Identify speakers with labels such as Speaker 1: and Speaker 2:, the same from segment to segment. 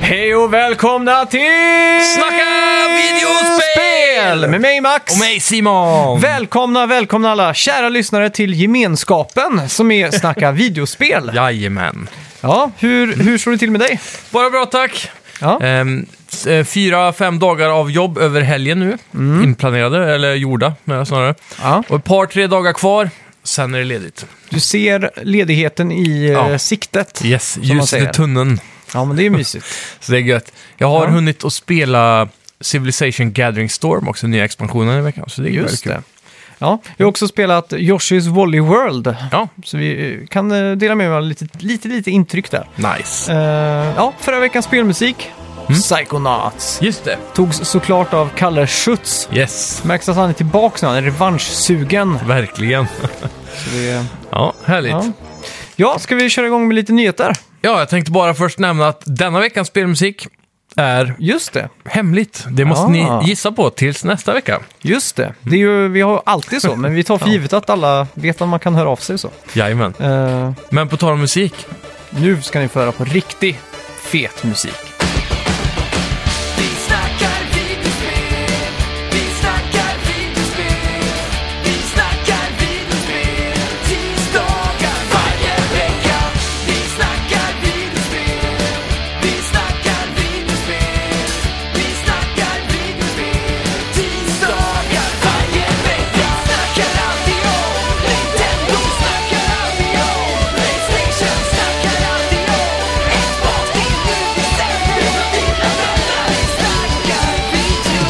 Speaker 1: Hej och välkomna till
Speaker 2: Snacka videospel!
Speaker 1: Med mig Max!
Speaker 2: Och mig Simon!
Speaker 1: Välkomna, välkomna alla kära lyssnare till gemenskapen som är Snacka videospel.
Speaker 2: Jajamän.
Speaker 1: Ja, hur, hur står det till med dig?
Speaker 2: Bara bra tack.
Speaker 1: Ja.
Speaker 2: Ehm, s- eh, fyra, fem dagar av jobb över helgen nu. Inplanerade, eller gjorda menar jag snarare.
Speaker 1: Mm. Ja.
Speaker 2: Och ett par, tre dagar kvar. Sen är det ledigt.
Speaker 1: Du ser ledigheten i eh,
Speaker 2: Ja.
Speaker 1: siktet.
Speaker 2: Yes,
Speaker 1: man
Speaker 2: ljus i
Speaker 1: säger.
Speaker 2: tunneln.
Speaker 1: Ja, men det är mysigt.
Speaker 2: Så det är gött. Jag har
Speaker 1: Ja.
Speaker 2: hunnit att spela Civilization Gathering Storm också, nya expansionen i veckan. Så det är väldigt
Speaker 1: Just
Speaker 2: kul.
Speaker 1: det. Ja, jag har också spelat Yoshi's Volley World.
Speaker 2: Ja,
Speaker 1: Så vi eh, kan eh, dela med mig av lite, lite, lite intryck där.
Speaker 2: nice.
Speaker 1: Eh, ja, förra veckans spelmusik.
Speaker 2: Mm.
Speaker 1: Psychonauts.
Speaker 2: Just det.
Speaker 1: Togs såklart av Kalle Schütz.
Speaker 2: Yes,
Speaker 1: Märks att han är tillbaka nu, han är revanschsugen.
Speaker 2: verkligen.
Speaker 1: Så Alltså, det,
Speaker 2: Ja, härligt.
Speaker 1: ja. ja, ska vi köra igång med lite nyheter?
Speaker 2: Ja, jag tänkte bara först nämna att denna veckans spelmusik är
Speaker 1: Just det,
Speaker 2: hemligt. Det måste
Speaker 1: Ah.
Speaker 2: ni gissa på tills nästa vecka.
Speaker 1: just det. det är ju, vi har alltid så, men vi tar för
Speaker 2: Ja.
Speaker 1: givet att alla vet att man kan höra av sig och så.
Speaker 2: Jajamän.
Speaker 1: Eh,
Speaker 2: Men på tal om musik.
Speaker 1: nu ska ni få höra på riktig fet musik.
Speaker 3: Vi snackar videospel, vi snackar videospel, vi snackar videospel tisdagar varje vecka. Vi snackar videospel, vi snackar videospel, vi snackar videospel tisdagar varje vecka. Snackar alltid om Nintendo, snackar alltid om Playstation, snackar alltid om Xbox, det är nu vi sänder från dina vänner. Vi snackar video.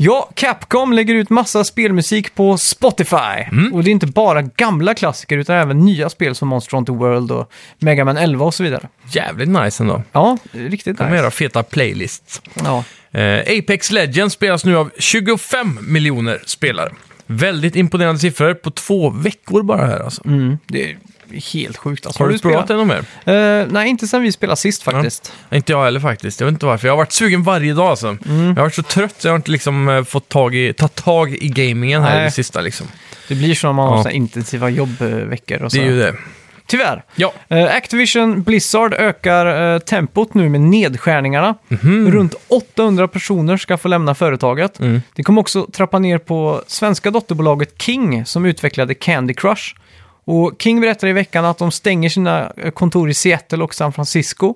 Speaker 1: Ja, Capcom lägger ut massa spelmusik på Spotify. Och det är inte bara gamla klassiker utan även nya spel som Monster Hunter World och Mega Man 11 och så vidare.
Speaker 2: Jävligt nice ändå.
Speaker 1: Ja, riktigt
Speaker 2: De
Speaker 1: nice.
Speaker 2: era feta playlists.
Speaker 1: Ja.
Speaker 2: Eh, Apex Legends spelas nu av 25 miljoner spelare. Väldigt imponerande siffror på två veckor bara här alltså.
Speaker 1: Mm, det är helt sjukt. Alltså.
Speaker 2: Har, du spelat det någon mer?
Speaker 1: Eh, nej, inte sen vi spelade sist faktiskt.
Speaker 2: Inte jag heller faktiskt. Jag vet inte varför. Jag har varit sugen varje dag alltså.
Speaker 1: Mm.
Speaker 2: Jag har varit så trött så jag har inte liksom eh, fått tag i, tagit tag i gamingen här i
Speaker 1: Nej.
Speaker 2: det sista liksom.
Speaker 1: Det blir som om man har
Speaker 2: Ja.
Speaker 1: såna intensiva jobbveckor och så.
Speaker 2: Det är ju det.
Speaker 1: Tyvärr.
Speaker 2: Ja,
Speaker 1: Eh, Activision Blizzard ökar eh, tempot nu med nedskärningarna.
Speaker 2: Mhm.
Speaker 1: Runt 800 personer ska få lämna företaget.
Speaker 2: Mm.
Speaker 1: Det kommer också trappa ner på svenska dotterbolaget King som utvecklade Candy Crush. Och King berättade i veckan att de stänger sina eh, kontor i Seattle och San Francisco.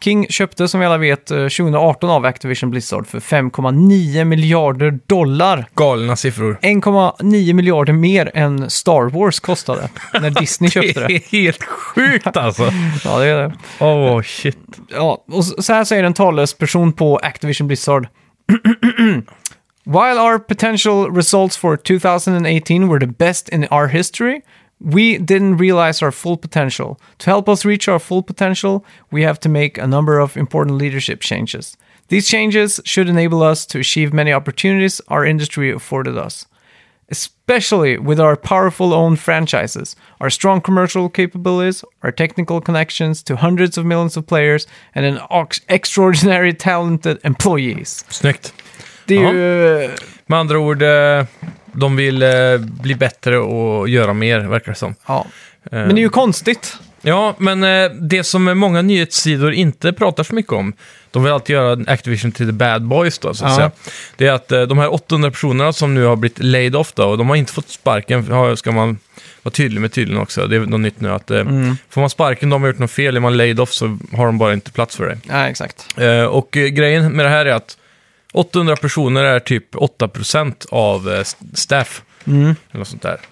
Speaker 1: King köpte som vi alla vet eh, 2018 av Activision Blizzard för 5,9 miljarder dollar.
Speaker 2: galna siffror.
Speaker 1: 1,9 miljarder mer än Star Wars kostade när Disney köpte det.
Speaker 2: är helt sjukt alltså.
Speaker 1: Ja, det är det.
Speaker 2: Åh, oh, shit.
Speaker 1: Ja, och så så här säger en talesperson på Activision Blizzard. While our potential results for 2018 were the best in our history, we didn't realize our full potential. To help us reach our full potential, we have to make a number of important leadership changes. These changes should enable us to achieve many opportunities our industry afforded us especially with our powerful own franchises, our strong commercial capabilities, our technical connections to hundreds of millions of players and an ox- extraordinary talented employees.
Speaker 2: Snyggt.
Speaker 1: Det är ju...
Speaker 2: Med andra ord, eh, de vill eh, bli bättre och göra mer, verkar det som.
Speaker 1: Ja. Men det är ju konstigt.
Speaker 2: Ja, men eh, det som många nyhetssidor inte pratar så mycket om, de vill alltid göra Activision till the bad boys då, så att
Speaker 1: Ja.
Speaker 2: säga. Det är att eh, de här 800 personerna som nu har blivit laid off då, och de har inte fått sparken, har- ska man vara tydlig med tydligen också, det är något nytt nu att eh, får man sparken, de har gjort något fel, är man laid off så har de bara inte plats för dig.
Speaker 1: Ja, exakt.
Speaker 2: Eh, och eh, grejen med det här är att 800 personer är typ 8% av eh, st- staff. Eller något sånt där.
Speaker 1: Mm.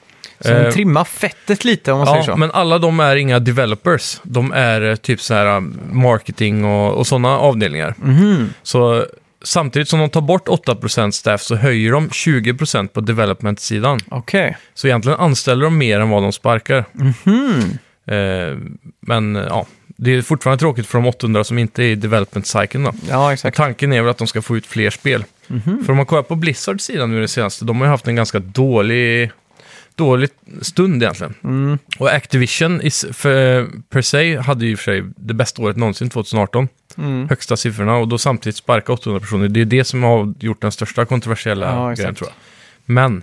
Speaker 1: Så de
Speaker 2: Eh,
Speaker 1: trimma fettet lite om man säger
Speaker 2: Ja,
Speaker 1: så.
Speaker 2: men alla de är inga developers. De är eh, typ så här eh, marketing och, och sådana avdelningar.
Speaker 1: Mm-hmm.
Speaker 2: Så eh, samtidigt som de tar bort 8% staff så höjer de 20% på development-sidan.
Speaker 1: Okej.
Speaker 2: Så egentligen anställer de mer än vad de sparkar.
Speaker 1: Mm-hmm.
Speaker 2: Eh, men eh, ja, det är fortfarande tråkigt för de 800 som inte är i development-cykeln då.
Speaker 1: Ja, exakt. Mhm.
Speaker 2: Tanken är väl att de ska få ut fler spel. För om man kollar på Blizzards sida nu det senaste, de har ju haft en ganska dålig, dålig stund egentligen.
Speaker 1: Mm.
Speaker 2: Och Activision is, för, per se hade ju i och för sig det bästa året någonsin, 2018.
Speaker 1: Mm.
Speaker 2: Högsta siffrorna och då samtidigt sparka 800 personer. Det är det som har gjort den största kontroversiella
Speaker 1: Ja,
Speaker 2: grejen
Speaker 1: exakt.
Speaker 2: tror jag. Men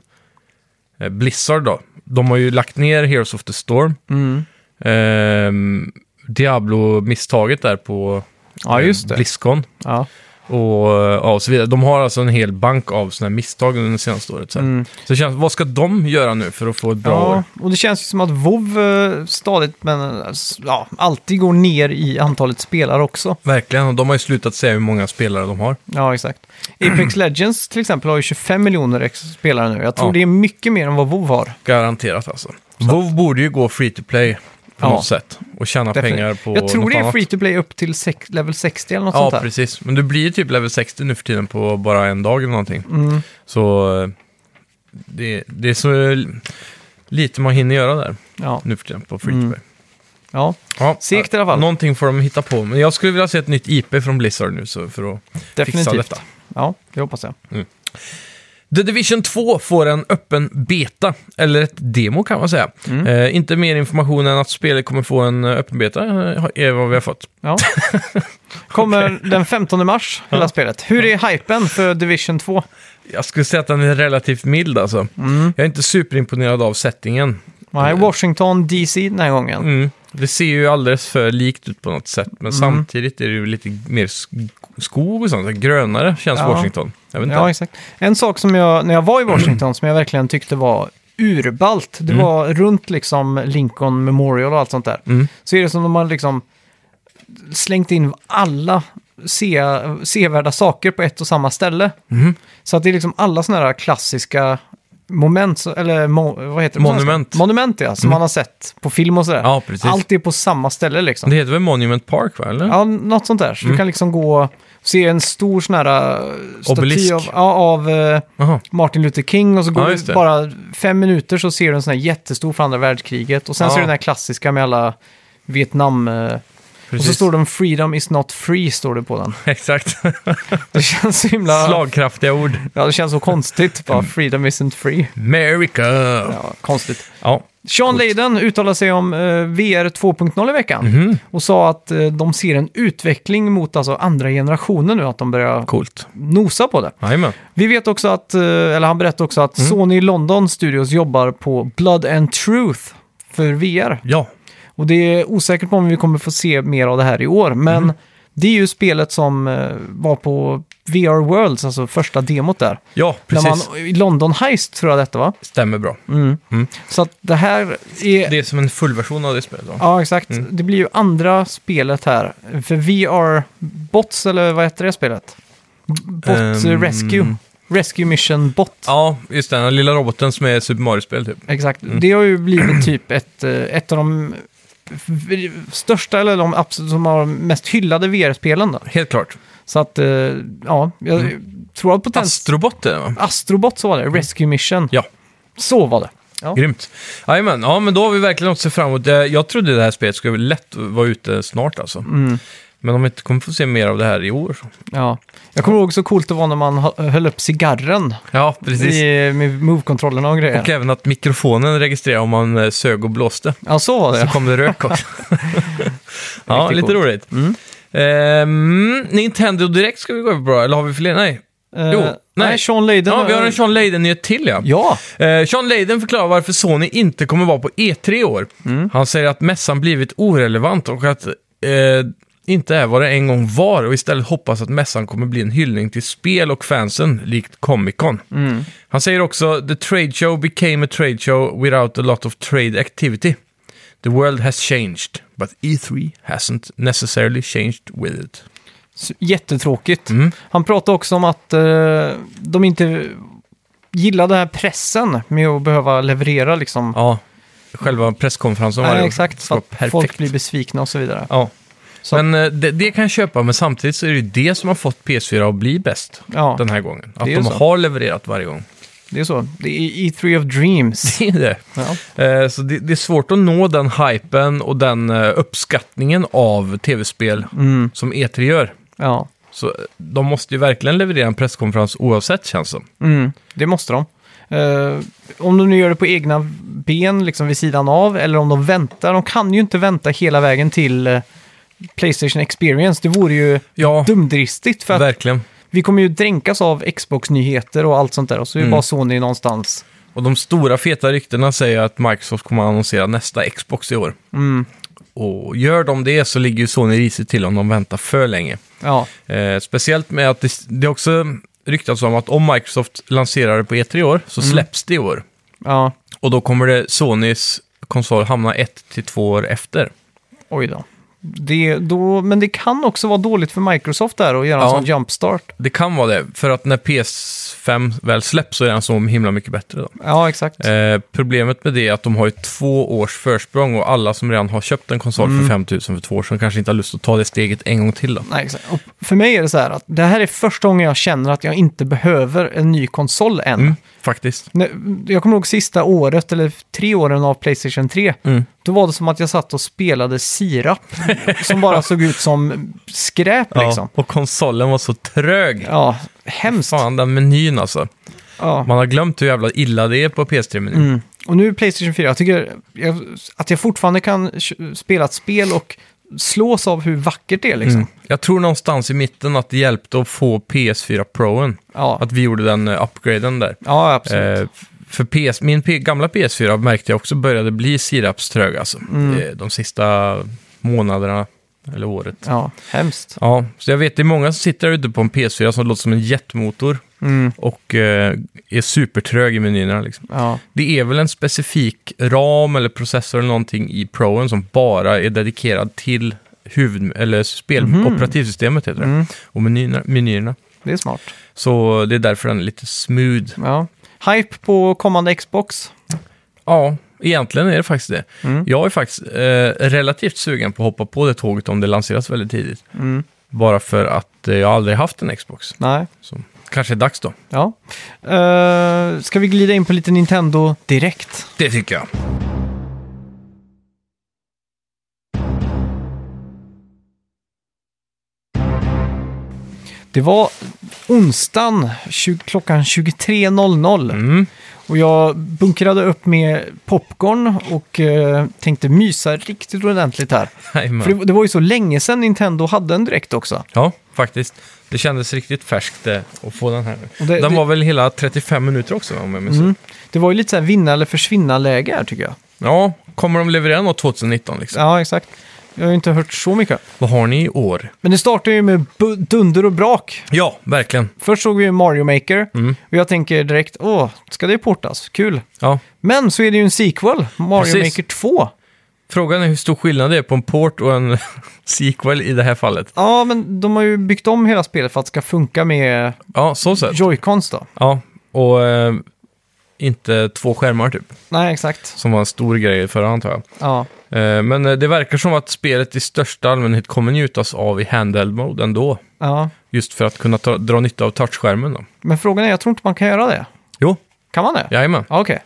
Speaker 2: eh, Blizzard då. De har ju lagt ner Heroes of the Storm.
Speaker 1: Mm.
Speaker 2: Ehm, Diablo-misstaget där på
Speaker 1: Ja,
Speaker 2: eh,
Speaker 1: just det.
Speaker 2: Blizzcon.
Speaker 1: Ja.
Speaker 2: Och, eh, ja, och så vidare. De har alltså en hel bank av sådana här misstag under det senaste året. Så, här. så det känns, vad ska de göra nu för att få ett bra år?
Speaker 1: Mm. ja, och det känns ju som att WoW eh, stadigt men eh, s- ja, alltid går ner i antalet spelare också.
Speaker 2: Verkligen, och de har ju slutat säga hur många spelare de har.
Speaker 1: Ja, exakt. Apex Legends till exempel har ju 25 miljoner ex- spelare nu. Jag tror
Speaker 2: Ja.
Speaker 1: det är mycket mer än vad WoW har.
Speaker 2: Garanterat alltså. WoW borde ju gå free to play på
Speaker 1: Ja.
Speaker 2: något sätt och tjäna
Speaker 1: Definitivt.
Speaker 2: pengar på
Speaker 1: Jag tror
Speaker 2: något
Speaker 1: det är
Speaker 2: annat.
Speaker 1: free to play upp till sex, level 60 eller något
Speaker 2: Ja,
Speaker 1: sånt där.
Speaker 2: precis. Men du blir ju typ level 60 nu för tiden på bara en dag eller någonting.
Speaker 1: Mm.
Speaker 2: Så eh, det, det är så eh, lite man hinner göra där
Speaker 1: Ja,
Speaker 2: nu för tiden på free
Speaker 1: Mm.
Speaker 2: to play.
Speaker 1: ja.
Speaker 2: Ja,
Speaker 1: Segt i alla fall.
Speaker 2: Någonting får de hitta på. Men jag skulle vilja se ett nytt IP från Blizzard nu så för att fixa
Speaker 1: definitivt.
Speaker 2: detta.
Speaker 1: Ja, det hoppas jag.
Speaker 2: The Division 2 får en öppen beta, eller ett demo kan man säga.
Speaker 1: Mm.
Speaker 2: Eh, inte mer information än att spelet kommer få en eh, öppen beta, eh, är vad vi har fått.
Speaker 1: Ja. Kommer den 15 mars, hela spelet. Hur är hypen för Division 2?
Speaker 2: Jag skulle säga att den är relativt mild alltså.
Speaker 1: Mm.
Speaker 2: Jag är inte superimponerad av settingen.
Speaker 1: Nej, Washington DC den här gången.
Speaker 2: Mm. Det ser ju alldeles för likt ut på något sätt,
Speaker 1: Mm.
Speaker 2: men samtidigt är det ju lite mer sk- skog och sånt. så här Grönare känns
Speaker 1: Ja.
Speaker 2: Washington. Jag vet inte.
Speaker 1: Ja, exakt. En sak som jag, när jag var i Washington, som jag verkligen tyckte var urbalt, det var runt liksom Lincoln Memorial och allt sånt där.
Speaker 2: Mm.
Speaker 1: Så är det som om man liksom slängt in alla se, sevärda saker på ett och samma ställe.
Speaker 2: Mm.
Speaker 1: Så att det är liksom alla sådana här klassiska moment, så- eller mo, vad heter det? på svenska?
Speaker 2: Monument. Mm.
Speaker 1: Monument, ja, som man har sett på film och sådär.
Speaker 2: Ja, precis.
Speaker 1: Allt är på samma ställe liksom.
Speaker 2: Det heter väl Monument Park, va? Eller?
Speaker 1: Ja, något sånt där. Så
Speaker 2: Mm.
Speaker 1: du kan liksom gå och se en stor sån här eh, staty
Speaker 2: Obelisk.
Speaker 1: av, ja, av eh,
Speaker 2: Jaha.
Speaker 1: Martin Luther King och så
Speaker 2: Ja,
Speaker 1: går
Speaker 2: just
Speaker 1: du
Speaker 2: det.
Speaker 1: bara fem minuter så ser du en sån här jättestor från andra världskriget och sen
Speaker 2: Ja.
Speaker 1: så är det den här klassiska med alla Vietnam... eh, och så
Speaker 2: Precis.
Speaker 1: står det om “Freedom is not free” står det på den.
Speaker 2: Exakt.
Speaker 1: Det känns så himla...
Speaker 2: Slagkraftiga ord.
Speaker 1: Ja, det känns så konstigt. Bara
Speaker 2: Mm.
Speaker 1: “Freedom isn't free”.
Speaker 2: America! Ja.
Speaker 1: Ja, konstigt.
Speaker 2: ja.
Speaker 1: Sean Layden uttalade sig om eh, VR 2.0 i veckan
Speaker 2: Mhm.
Speaker 1: och sa att eh, de ser en utveckling mot alltså, andra generationen nu, att de börjar
Speaker 2: Coolt.
Speaker 1: nosa på det.
Speaker 2: Jajamän.
Speaker 1: Vi vet också att, eh, eller han berättade också
Speaker 2: Mm.
Speaker 1: att Sony London Studios jobbar på Blood and Truth för VR.
Speaker 2: Ja.
Speaker 1: Och det är osäkert på om vi kommer få se mer av det här i år, men
Speaker 2: Mm.
Speaker 1: det är ju spelet som eh, var på VR Worlds, alltså första demot där.
Speaker 2: Ja, precis.
Speaker 1: När man, Mm. I London Heist tror jag detta var.
Speaker 2: Stämmer bra.
Speaker 1: Så att det här är...
Speaker 2: Det Mm. är som en fullversion av det spelet. va?
Speaker 1: Ja, exakt. Det blir ju andra spelet här. För VR Bots, eller vad heter det spelet? Bot
Speaker 2: Ehm.
Speaker 1: Rescue. Rescue Mission Bot.
Speaker 2: Ja, just det. Den här lilla roboten som är Super Mario-spel typ.
Speaker 1: Exakt. Det har ju blivit typ ett, eh, ett av de v- största eller de absolut som har mest hyllade VR-spelen. Då.
Speaker 2: Helt klart.
Speaker 1: Så att, eh, ja, jag
Speaker 2: Mm.
Speaker 1: tror att potens...
Speaker 2: Astrobot är det va?
Speaker 1: Astrobot så var det, Rescue Mission.
Speaker 2: Mm. Ja,
Speaker 1: Så var det. Ja.
Speaker 2: grymt. Jajamän, ja men då har vi verkligen något att se fram emot. Eh, Jag trodde det här spelet skulle lätt vara ute snart alltså.
Speaker 1: Mm.
Speaker 2: Men om vi inte kommer få se mer av det här i år.
Speaker 1: Ja. Jag kommer ihåg så coolt det var när man hö- höll upp cigarren
Speaker 2: Ja,
Speaker 1: i, med move-kontrollerna och grejer.
Speaker 2: Och även att mikrofonen registrerar om man eh, sög och blåste.
Speaker 1: Ja, så var det.
Speaker 2: Så kom det rök också. ja,
Speaker 1: Riktigt
Speaker 2: lite
Speaker 1: coolt.
Speaker 2: roligt. Ehm, Nintendo Direkt ska vi gå över på då, eller har vi fler? Nej.
Speaker 1: Eh,
Speaker 2: jo,
Speaker 1: nej.
Speaker 2: nej.
Speaker 1: Sean Layden.
Speaker 2: Ja, vi har en Sean Leiden-nyhet till ja.
Speaker 1: Ja,
Speaker 2: Eh, Sean Leiden förklarar varför Sony inte kommer vara på E3 i år.
Speaker 1: Mm.
Speaker 2: Han säger att mässan blivit orelevant och att eh, inte är vad det en gång var och istället hoppas att mässan kommer bli en hyllning till spel och fansen, likt Comic Con.
Speaker 1: Mm.
Speaker 2: Han säger också “The trade show became a trade show without a lot of trade activity. The world has changed, but E3 hasn't necessarily changed with it.”
Speaker 1: S- Jättetråkigt.
Speaker 2: Mm.
Speaker 1: Han pratade också om att eh, de inte gillar den här pressen med att behöva leverera liksom.
Speaker 2: Ja, själva presskonferensen var
Speaker 1: Nej,
Speaker 2: det.
Speaker 1: exakt,
Speaker 2: Ska
Speaker 1: så
Speaker 2: vara
Speaker 1: att folk blir besvikna och så vidare.
Speaker 2: Ja.
Speaker 1: Så-
Speaker 2: men eh, det, det kan jag köpa, men samtidigt så är det ju det som har fått PS4 att bli bäst
Speaker 1: Ja.
Speaker 2: den här gången. Att
Speaker 1: Det är ju
Speaker 2: de
Speaker 1: så.
Speaker 2: har levererat varje gång.
Speaker 1: Det är så. Det är E3 of Dreams.
Speaker 2: Det är det.
Speaker 1: Ja.
Speaker 2: Eh, Så det, det är svårt att nå den hypen och den eh, uppskattningen av tv-spel
Speaker 1: Mm.
Speaker 2: som E3 gör.
Speaker 1: ja.
Speaker 2: Så eh, de måste ju verkligen leverera en presskonferens oavsett känns det
Speaker 1: Mm, det måste de. Eh, om de nu gör det på egna ben, liksom vid sidan av, eller om de väntar. De kan ju inte vänta hela vägen till eh, Playstation Experience. Det vore ju
Speaker 2: Ja,
Speaker 1: dumdristigt för att
Speaker 2: verkligen. Mm.
Speaker 1: vi kommer ju dränkas av Xbox-nyheter och allt sånt där. Och så är det bara Sony någonstans.
Speaker 2: Och de stora feta ryktena säger att Microsoft kommer att annonsera nästa Xbox i år.
Speaker 1: Mm,
Speaker 2: Och gör de det så ligger ju Sony risigt till om de väntar för länge.
Speaker 1: Ja,
Speaker 2: Eh, speciellt med att det, det är också ryktats om att om Microsoft lanserar det på E3 i år så släpps det i år.
Speaker 1: ja.
Speaker 2: Och då kommer det Sonys konsol hamna ett till två år efter.
Speaker 1: Oj då. Det, då. Men det kan också vara dåligt för Microsoft där att göra en
Speaker 2: Ja.
Speaker 1: sån jumpstart.
Speaker 2: Det kan vara det, för att när PS5 väl släpps så är den så himla mycket bättre. Då.
Speaker 1: Ja, exakt.
Speaker 2: Eh, problemet med det är att de har ju två års försprång och alla som redan har köpt en konsol för 5 000 för två år sedan kanske inte har lust att ta det steget en gång till. Då.
Speaker 1: Nej, exakt. Och för mig är det så här att det här är första gången jag känner att jag inte behöver en ny konsol än.
Speaker 2: Mm, faktiskt.
Speaker 1: När- Jag kommer ihåg sista året, eller tre åren av Playstation 3.
Speaker 2: Mm.
Speaker 1: Då var det som att jag satt och spelade sirap som bara såg ut som skräp liksom.
Speaker 2: Ja, och konsolen var så trög.
Speaker 1: Ja, hemskt.
Speaker 2: Fan, den menyn alltså.
Speaker 1: Ja.
Speaker 2: Man har glömt hur jävla illa det är på PS3-menyn.
Speaker 1: Mm. Och nu är Playstation 4, jag tycker jag, att jag fortfarande kan kö- spela ett spel och slås av hur vackert det är liksom.
Speaker 2: Mm. Jag tror någonstans i mitten att det hjälpte att få PS4 Proen.
Speaker 1: Ja.
Speaker 2: Att vi gjorde den eh, upgraden där.
Speaker 1: ja, absolut.
Speaker 2: Eh, för PS, min P, gamla PS4 märkte jag också började bli sirapströg alltså.
Speaker 1: Mm.
Speaker 2: Eh, de sista månaderna eller året.
Speaker 1: Ja, hemskt.
Speaker 2: Ja, så jag vet det är många som sitter där ute på en PS4 som låter som en jetmotor
Speaker 1: Mm.
Speaker 2: och eh, är supertrög i menyerna. Liksom.
Speaker 1: Ja.
Speaker 2: Det är väl en specifik ram eller processor eller någonting i Proen som bara är dedikerad till huvud, eller spel, operativsystemet heter det, och menyerna, menyerna.
Speaker 1: Det är smart.
Speaker 2: Så det är därför den är lite smooth.
Speaker 1: Ja. Hype på kommande Xbox.
Speaker 2: Ja, egentligen är det faktiskt det. Jag är faktiskt eh, relativt sugen på att hoppa på det tåget om det lanseras väldigt tidigt. Bara för att eh, jag aldrig haft en Xbox.
Speaker 1: Nej.
Speaker 2: Så kanske är dags då.
Speaker 1: Ja. Uh, ska vi glida in på lite Nintendo direkt?
Speaker 2: Det tycker jag.
Speaker 1: Det var onsdagen tju- klockan 23.00
Speaker 2: Mm.
Speaker 1: och jag bunkrade upp med popcorn och eh, tänkte mysa riktigt ordentligt här.
Speaker 2: Jajamän.
Speaker 1: För det, det var ju så länge sedan Nintendo hade en direkt också.
Speaker 2: Ja, faktiskt. Det kändes riktigt färskt eh, att få den här.
Speaker 1: Och det-
Speaker 2: den
Speaker 1: det-
Speaker 2: var väl hela 35 minuter också om jag minns
Speaker 1: Mm.
Speaker 2: mm.
Speaker 1: Det var ju lite så här vinna eller försvinna-läge här tycker jag.
Speaker 2: Ja, kommer de leverera något 2019 liksom?
Speaker 1: Ja, exakt. Jag har ju inte hört så mycket.
Speaker 2: Vad har ni i år?
Speaker 1: Men det startar ju med bu- dunder och brak.
Speaker 2: Ja, verkligen.
Speaker 1: Först såg vi ju Mario Maker
Speaker 2: Mm.
Speaker 1: och jag tänker direkt, åh, ska det portas? Kul.
Speaker 2: Ja.
Speaker 1: Men så är det ju en sequel, Mario
Speaker 2: Precis.
Speaker 1: Maker 2.
Speaker 2: Frågan är hur stor skillnad det är på en port och en sequel i det här fallet.
Speaker 1: Ja, men de har ju byggt om hela spelet för att det ska funka med
Speaker 2: Ja, så sett.
Speaker 1: Joy-Cons då.
Speaker 2: Ja, och eh, inte två skärmar typ,
Speaker 1: Nej, exakt.
Speaker 2: som var en stor grej förra antar jag.
Speaker 1: Ja,
Speaker 2: Eh, men eh, det verkar som att spelet i största allmänhet kommer njutas av i handheld mode ändå.
Speaker 1: ja.
Speaker 2: Just för att kunna ta, dra nytta av touchskärmen då.
Speaker 1: Men frågan är, jag tror inte man kan göra det.
Speaker 2: Jo,
Speaker 1: Kan man det?
Speaker 2: jajamän.
Speaker 1: Ja, Okej.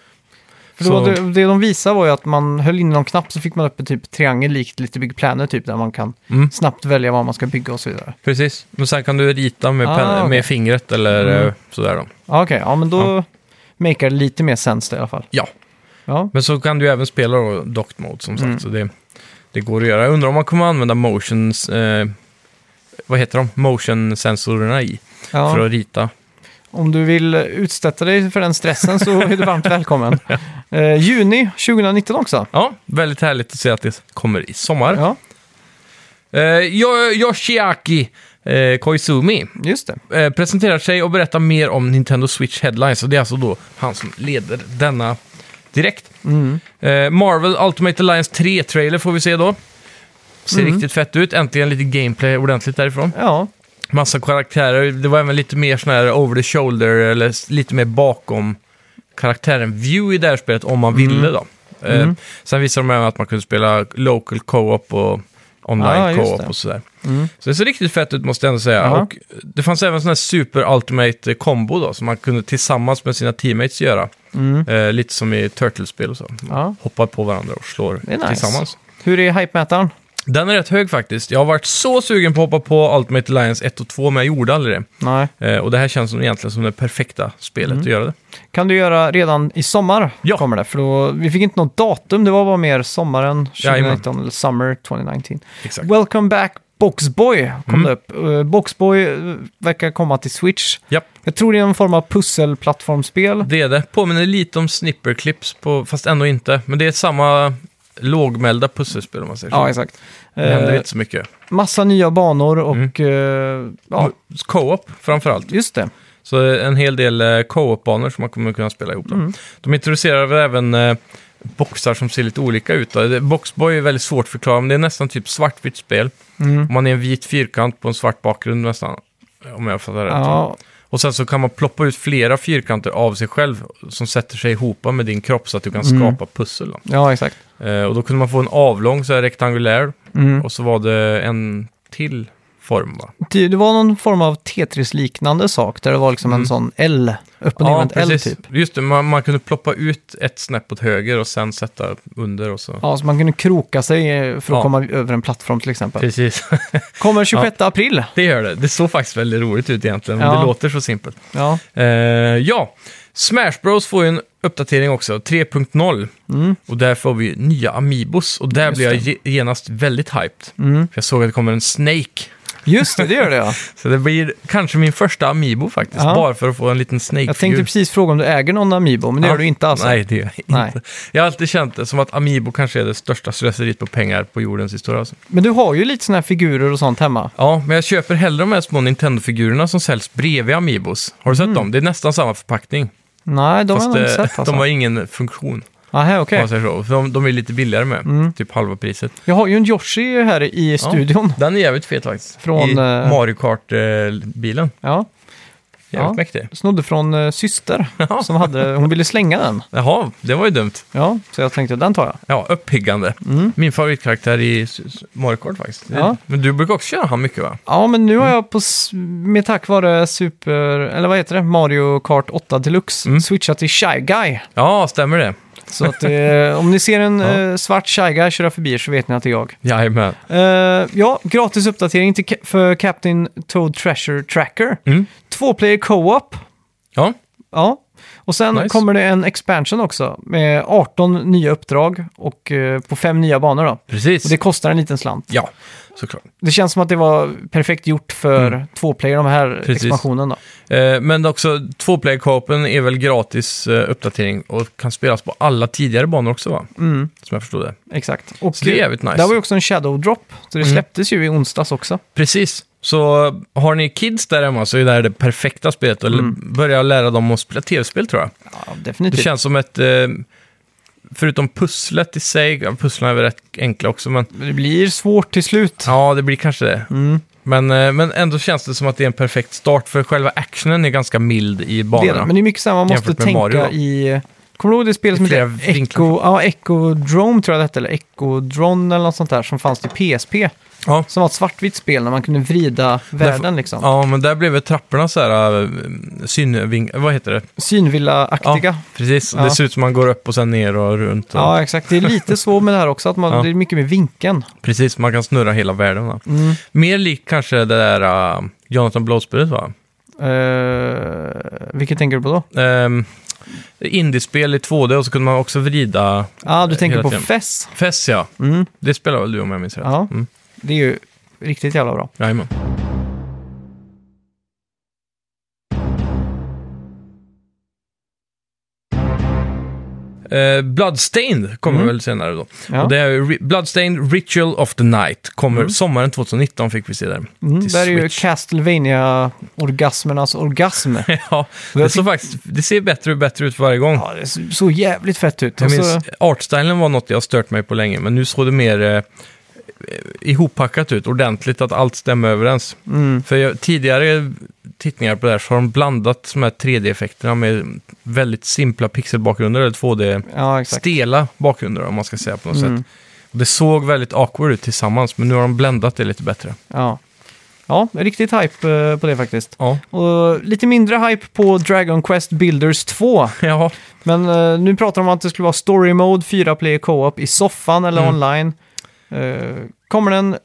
Speaker 1: För
Speaker 2: Så-
Speaker 1: då, det, det de visade var ju att man höll in någon knapp så fick man upp en typ triangel likt Little Big Planet typ där man kan
Speaker 2: Mm.
Speaker 1: snabbt välja vad man ska bygga och så vidare.
Speaker 2: Precis, men sen kan du rita med,
Speaker 1: Ah,
Speaker 2: pen-
Speaker 1: okej. Mm.
Speaker 2: med fingret eller eh, sådär då.
Speaker 1: Ja, Okej, ja men då makear det lite mer sens det i alla fall.
Speaker 2: Ja,
Speaker 1: Ja,
Speaker 2: men så kan du ju även spela då docked mode som sagt.
Speaker 1: Mm.
Speaker 2: Så det, det går att göra. Jag undrar om man kommer använda motions... Eh, vad heter de? Motion-sensorerna i.
Speaker 1: ja.
Speaker 2: För att rita.
Speaker 1: Om du vill utsätta dig för den stressen så är du varmt välkommen. Eh, juni 2019 också.
Speaker 2: Ja, väldigt härligt att se att det kommer i sommar.
Speaker 1: Ja,
Speaker 2: Eh, Yo- Yoshiaki eh, Koizumi
Speaker 1: just det.
Speaker 2: eh, presenterar sig och berättar mer om Nintendo Switch Headlines. Och det är alltså då han som leder denna direkt.
Speaker 1: Mm.
Speaker 2: Eh, Marvel Ultimate Alliance 3-trailer får vi se då. Ser riktigt fett ut. Äntligen lite gameplay ordentligt därifrån.
Speaker 1: Ja,
Speaker 2: Massa karaktärer. Det var även lite mer sån här over the shoulder, eller s- lite mer bakom karaktären view i det här spelet om man ville
Speaker 1: Mm.
Speaker 2: då. Eh, Sen visade de även att man kunde spela local co-op och online
Speaker 1: Ah, just
Speaker 2: co-op
Speaker 1: det. Mm.
Speaker 2: och sådär. Så det ser riktigt fett ut måste jag ändå säga.
Speaker 1: Ja.
Speaker 2: Och det fanns även sån här super ultimate eh, combo då, som man kunde tillsammans med sina teammates göra. Eh, lite som i Turtles-spel och så. Man
Speaker 1: Mm. Ja.
Speaker 2: Hoppar på varandra och slår
Speaker 1: det är nice.
Speaker 2: tillsammans.
Speaker 1: Hur är hype-mätaren?
Speaker 2: Den är rätt hög faktiskt. Jag har varit så sugen på att hoppa på Ultimate Alliance 1 och 2, men jag gjorde aldrig det.
Speaker 1: Nej.
Speaker 2: Eh, och det här känns som, egentligen som det perfekta spelet
Speaker 1: Mm.
Speaker 2: att göra det.
Speaker 1: Kan du göra redan i sommar?
Speaker 2: Ja.
Speaker 1: Kommer det, för då, vi fick inte något datum, det var bara mer sommaren
Speaker 2: Jajamän.
Speaker 1: 2019 eller summer 2019.
Speaker 2: Exakt.
Speaker 1: Welcome back Boxboy kom
Speaker 2: Mm.
Speaker 1: det upp. Eh, Boxboy eh, verkar komma till Switch.
Speaker 2: Japp.
Speaker 1: Jag tror det är någon form av pusselplattformsspel.
Speaker 2: Det är det. Påminner lite om snipperclips, på, fast ändå inte. Men det är samma lågmälda pusselspel om man säger så.
Speaker 1: Ja, exakt.
Speaker 2: det händer Mm.
Speaker 1: Eh,
Speaker 2: inte så mycket.
Speaker 1: massa nya banor och... eh, ja,
Speaker 2: Co-op framförallt.
Speaker 1: just det.
Speaker 2: Så eh, en hel del eh, co-op-banor som man kommer kunna spela ihop. Då.
Speaker 1: Mm.
Speaker 2: De introducerar väl även eh, boxar som ser lite olika ut. Då. Det- Boxboy är väldigt svårt att förklara, men det är nästan typ svartvitt spel.
Speaker 1: Mm.
Speaker 2: Man är en vit fyrkant på en svart bakgrund nästan, om jag fattar rätt.
Speaker 1: Ja,
Speaker 2: Och sen så kan man ploppa ut flera fyrkanter av sig själv som sätter sig ihop med din kropp så att du kan
Speaker 1: Mm.
Speaker 2: skapa pussel. Då.
Speaker 1: ja, exakt.
Speaker 2: Eh, och då kunde man få en avlång, så här rektangulär,
Speaker 1: Mm.
Speaker 2: och så var det en till form va?
Speaker 1: Ty- Det var någon form av Tetris-liknande sak där det var
Speaker 2: Mm.
Speaker 1: liksom en sån L, upp och ner med ett L typ.
Speaker 2: Just det, man, man kunde ploppa ut ett snäpp åt höger och sen sätta under och så.
Speaker 1: Ja, så man kunde kroka sig eh, för att
Speaker 2: Ja.
Speaker 1: komma över en plattform till exempel.
Speaker 2: Precis,
Speaker 1: Kommer 26 april.
Speaker 2: det gör det. Det såg faktiskt väldigt roligt ut egentligen, men
Speaker 1: Ja.
Speaker 2: det låter så simpelt.
Speaker 1: Ja,
Speaker 2: Eh, ja, Smash Bros får ju en uppdatering också, 3.0. Och där får vi nya Amiibos och där
Speaker 1: Just
Speaker 2: blir jag
Speaker 1: det. Mm.
Speaker 2: ge- genast väldigt hyped. För jag såg att det kommer en Snake.
Speaker 1: just det, det gör det ja.
Speaker 2: Så det blir kanske min första Amiibo faktiskt,
Speaker 1: Ja.
Speaker 2: bara för att få en liten Snake-figur.
Speaker 1: Jag tänkte precis fråga om du äger någon Amiibo, men det
Speaker 2: Ja.
Speaker 1: gör du inte alltså. alls.
Speaker 2: Nej, det gör jag inte.
Speaker 1: Nej.
Speaker 2: Jag har alltid känt det som att Amiibo kanske är det största slöseriet på pengar på jordens historia. Alltså.
Speaker 1: Men du har ju lite såna här figurer och sånt hemma.
Speaker 2: Ja, men jag köper hellre de här små Nintendo-figurerna som säljs bredvid Amiibos. Har du sett dem? Det är nästan samma förpackning.
Speaker 1: Nej, de har Mm. jag nog inte
Speaker 2: eh,
Speaker 1: sett alltså.
Speaker 2: de har ingen funktion.
Speaker 1: Aha,
Speaker 2: om
Speaker 1: okej.
Speaker 2: man säger så. För De, de är lite billigare med, typ halva priset.
Speaker 1: Jag har ju en Yoshi här i Mm. studion.
Speaker 2: Den är jävligt fet faktiskt.
Speaker 1: Från,
Speaker 2: I
Speaker 1: eh,
Speaker 2: Mario Kart-bilen.
Speaker 1: Ja,
Speaker 2: Jävligt
Speaker 1: Ja.
Speaker 2: mäktig.
Speaker 1: snodde från eh, syster
Speaker 2: Ja.
Speaker 1: som hade, hon ville slänga den.
Speaker 2: Jaha, det var ju dumt.
Speaker 1: Ja, så jag tänkte den tar jag.
Speaker 2: Ja, uppiggande. Min favoritkaraktär i s- s- Mario Kart faktiskt.
Speaker 1: Mm. Ja.
Speaker 2: Men du brukar också köra han mycket va?
Speaker 1: Ja, men nu har
Speaker 2: Mm.
Speaker 1: jag på, s- med tack vare Super, eller vad heter det, Mario Kart 8 Deluxe,
Speaker 2: Mm.
Speaker 1: switchat till Shy Guy.
Speaker 2: Ja, stämmer det?
Speaker 1: Så att eh, om ni ser en
Speaker 2: Ja.
Speaker 1: eh, svart Shy Guy köra förbi er så vet ni att det är jag.
Speaker 2: Jajamän.
Speaker 1: Eh, ja, gratis uppdatering till, Ca- för Captain Toad Treasure Tracker.
Speaker 2: Mm.
Speaker 1: Två player co-op.
Speaker 2: Ja,
Speaker 1: Ja. Och sen
Speaker 2: Nice.
Speaker 1: kommer det en expansion också med 18 nya uppdrag och eh, på fem nya banor då.
Speaker 2: precis.
Speaker 1: Och det kostar en liten slant.
Speaker 2: Ja, såklart.
Speaker 1: Det känns som att det var perfekt gjort för två player, de här
Speaker 2: Mm. Precis.
Speaker 1: expansionen då.
Speaker 2: Eh, men också, tvåplayer-co-open är väl gratis eh, uppdatering och kan spelas på alla tidigare banor också va?
Speaker 1: Mm.
Speaker 2: Som jag förstod det.
Speaker 1: Exakt. Och
Speaker 2: Så det är jävligt nice. Mm.
Speaker 1: Där var ju också en shadow drop, så det släpptes ju i onsdags också.
Speaker 2: Precis. Så eh, har ni kids där hemma så är det här det perfekta spelet. Eller
Speaker 1: Mm.
Speaker 2: börja lära dem att spela tv-spel tror jag.
Speaker 1: Ja,
Speaker 2: Det
Speaker 1: definitivt.
Speaker 2: känns som ett... Eh, förutom pusslet i sig, ja, pusslen är väl rätt enkla också, men
Speaker 1: Men det blir svårt till slut.
Speaker 2: Ja, det blir kanske det.
Speaker 1: Mm.
Speaker 2: Men, eh, men ändå känns det som att det är en perfekt start, för själva actionen är ganska mild i
Speaker 1: det är det.
Speaker 2: banorna.
Speaker 1: Men det är mycket samma, man måste
Speaker 2: Jämfört med
Speaker 1: tänka
Speaker 2: Mario då.
Speaker 1: i... Kommer du ihåg det spel som
Speaker 2: I flera
Speaker 1: heter
Speaker 2: vinklar.
Speaker 1: Echo, ja, Echo Drome tror jag det hette, eller Echo Drone eller något sånt där som fanns till PSP.
Speaker 2: Ja.
Speaker 1: Som var ett svartvitt spel när man kunde vrida världen liksom.
Speaker 2: ja, men där blev väl trapporna så här eh, synving... Vad heter det? Ja,
Speaker 1: Synvilla-aktiga.
Speaker 2: precis.
Speaker 1: Ja.
Speaker 2: Det ser ut som man går upp och sen ner och runt. Och,
Speaker 1: Ja, exakt. Det är lite så med det här också, att man,
Speaker 2: Ja.
Speaker 1: det är mycket med vinkeln.
Speaker 2: Precis, man kan snurra hela världen. Va?
Speaker 1: Mm.
Speaker 2: Mer lik kanske det där eh, Jonathan Blow-spelet va?
Speaker 1: Uh, vilket tänker du på då?
Speaker 2: Um, Indiespel i 2D och så kunde man också vrida...
Speaker 1: Ja, ah, du tänker
Speaker 2: Eh, hela
Speaker 1: på
Speaker 2: tiden.
Speaker 1: Fess.
Speaker 2: Fess ja,
Speaker 1: Mm.
Speaker 2: det spelar väl du om jag minns rätt?
Speaker 1: Ja.
Speaker 2: Mm.
Speaker 1: Det är ju riktigt jävla bra.
Speaker 2: Jajamän. Eh, Bloodstained kommer väl senare då.
Speaker 1: Mm. Ja.
Speaker 2: Och det är ju Ri- Bloodstained Ritual of the Night. Kommer sommaren 2019 fick vi se där.
Speaker 1: Mm,
Speaker 2: till
Speaker 1: där är ju
Speaker 2: Switch.
Speaker 1: Castlevania-orgasmernas orgasm.
Speaker 2: ja, det, såg faktiskt, det ser bättre och bättre ut för varje gång.
Speaker 1: ja, det såg jävligt fett ut.
Speaker 2: jag
Speaker 1: Och så-
Speaker 2: minns, artstylen var något jag har stört mig på länge, men nu såg det mer eh, ihoppackat ut, ordentligt, att allt stämmer överens.
Speaker 1: Mm.
Speaker 2: För jag, tidigare tittningar på det här så har de blandat de här 3D-effekterna med väldigt simpla pixelbakgrunder, eller 2D,
Speaker 1: Ja, exakt. Mm.
Speaker 2: stela bakgrunder om man ska säga på något sätt. Och det såg väldigt awkward ut tillsammans, men nu har de bländat det lite bättre.
Speaker 1: Ja. ja, riktigt hype eh, på det faktiskt.
Speaker 2: Ja,
Speaker 1: Och lite mindre hype på Dragon Quest Builders 2.
Speaker 2: ja.
Speaker 1: Men eh, nu pratar de om att det skulle vara story mode, fyra player co-op i soffan eller
Speaker 2: Mm.
Speaker 1: online. Eh, kommer den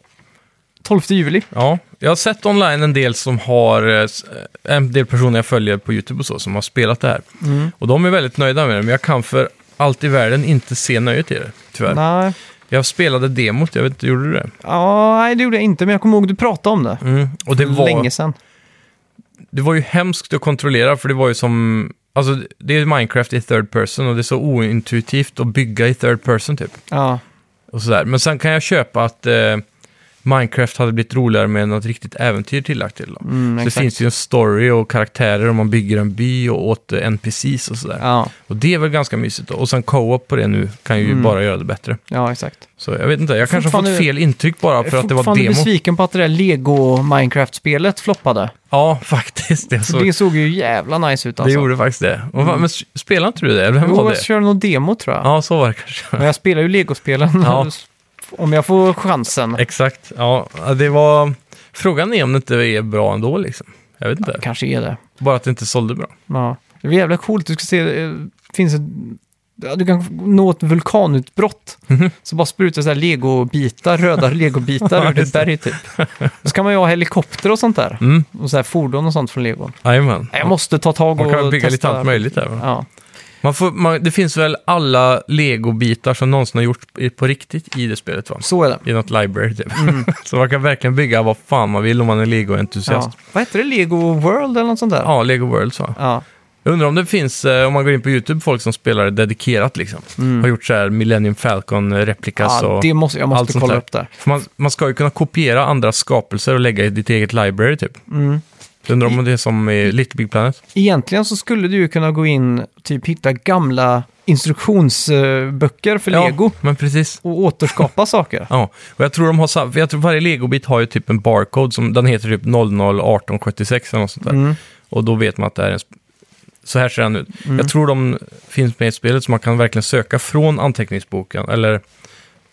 Speaker 1: 12 juli.
Speaker 2: ja. Jag har sett online en del som har, eh, s- en del personer jag följer på YouTube och så, som har spelat det här.
Speaker 1: Mm.
Speaker 2: Och de är väldigt nöjda med det, men jag kan för allt i världen inte se nöjet i det, tyvärr.
Speaker 1: Nej,
Speaker 2: Jag spelade demot, jag vet inte, gjorde du det?
Speaker 1: Ja, nej det gjorde jag inte, men jag kommer ihåg du pratade om det.
Speaker 2: Mm. Och det var,
Speaker 1: Länge sedan.
Speaker 2: det var ju hemskt att kontrollera, för det var ju som... Alltså, det är Minecraft i third person och det är så ointuitivt att bygga i third person typ.
Speaker 1: Ja.
Speaker 2: Och sådär. Men sen kan jag köpa att eh, Minecraft hade blivit roligare med något riktigt äventyr tillagt till. Då.
Speaker 1: Mm,
Speaker 2: så det
Speaker 1: exakt.
Speaker 2: finns ju en story och karaktärer och man bygger en by och åt eh, NPCs och sådär.
Speaker 1: Ja,
Speaker 2: Och det är väl ganska mysigt. Då. Och sen co-op på det nu kan ju bara göra det bättre.
Speaker 1: ja exakt.
Speaker 2: Så jag vet inte, jag kanske har
Speaker 1: Mm. Fortfarande-
Speaker 2: fått fel intryck bara för att det var
Speaker 1: fortfarande
Speaker 2: demo.
Speaker 1: besviken på att det där Lego Minecraft-spelet floppade.
Speaker 2: Ja, faktiskt. Det, så,
Speaker 1: Det såg ju jävla nice ut
Speaker 2: det
Speaker 1: alltså.
Speaker 2: gjorde faktiskt det. Och, va- Men s- spelade inte du det? Eller vem
Speaker 1: Jo,
Speaker 2: var
Speaker 1: jag
Speaker 2: det?
Speaker 1: körde nog demo tror jag.
Speaker 2: Ja, så var det kanske.
Speaker 1: Men jag spelar ju Lego-spelen.
Speaker 2: Ja.
Speaker 1: Om jag får chansen.
Speaker 2: Exakt. Ja, det var... Frågan är om det inte är bra ändå liksom. Jag vet inte.
Speaker 1: Kanske är det.
Speaker 2: Bara att det inte sålde bra.
Speaker 1: Ja. Det blir jävla coolt. Du ska se, eh, finns ett, ja, du kan nå ett vulkanutbrott.
Speaker 2: Mhm.
Speaker 1: Så bara sprutar så här legobitar, röda legobitar ur ditt berg typ. Så kan man ju ha helikopter och sånt där.
Speaker 2: Mm.
Speaker 1: Och så här fordon och sånt från Lego.
Speaker 2: Jajamän.
Speaker 1: Jag måste ta tag och
Speaker 2: Man kan bygga lite
Speaker 1: testa.
Speaker 2: allt möjligt där. va?
Speaker 1: Ja.
Speaker 2: Man får, man, det finns väl alla legobitar som någonsin har gjort i- på riktigt i det spelet va?
Speaker 1: Så är det.
Speaker 2: I något library typ.
Speaker 1: Mm.
Speaker 2: Så man kan verkligen bygga vad fan man vill om man är lego-entusiast.
Speaker 1: Ja.
Speaker 2: Ja.
Speaker 1: Vad heter det? Lego World eller något sånt där?
Speaker 2: Lego Worlds va?
Speaker 1: Ja.
Speaker 2: Jag undrar om det finns, eh, om man går in på YouTube, folk som spelar det dedikerat liksom. Har gjort så här Millennium Falcon-replikas
Speaker 1: Mm. ja
Speaker 2: och
Speaker 1: det måste, jag
Speaker 2: Alltså, allt
Speaker 1: måste
Speaker 2: sånt
Speaker 1: kolla
Speaker 2: där.
Speaker 1: upp det.
Speaker 2: För man, man ska ju kunna kopiera andras skapelser och lägga i ditt eget library typ.
Speaker 1: Mm.
Speaker 2: Jag undrar om det är som i Little Big Planet.
Speaker 1: Egentligen så skulle du ju kunna gå in och typ hitta gamla instruktionsböcker för Lego
Speaker 2: Ja, men precis.
Speaker 1: och återskapa saker.
Speaker 2: Ja, och jag tror de har sam- för jag tror varje legobit har ju typ en barcode som, den heter typ 001876 eller något sånt där.
Speaker 1: Mm.
Speaker 2: Och då vet man att det här är en sp- så här ser den ut.
Speaker 1: Mm.
Speaker 2: Jag tror de finns med i spelet så man kan verkligen söka från anteckningsboken, eller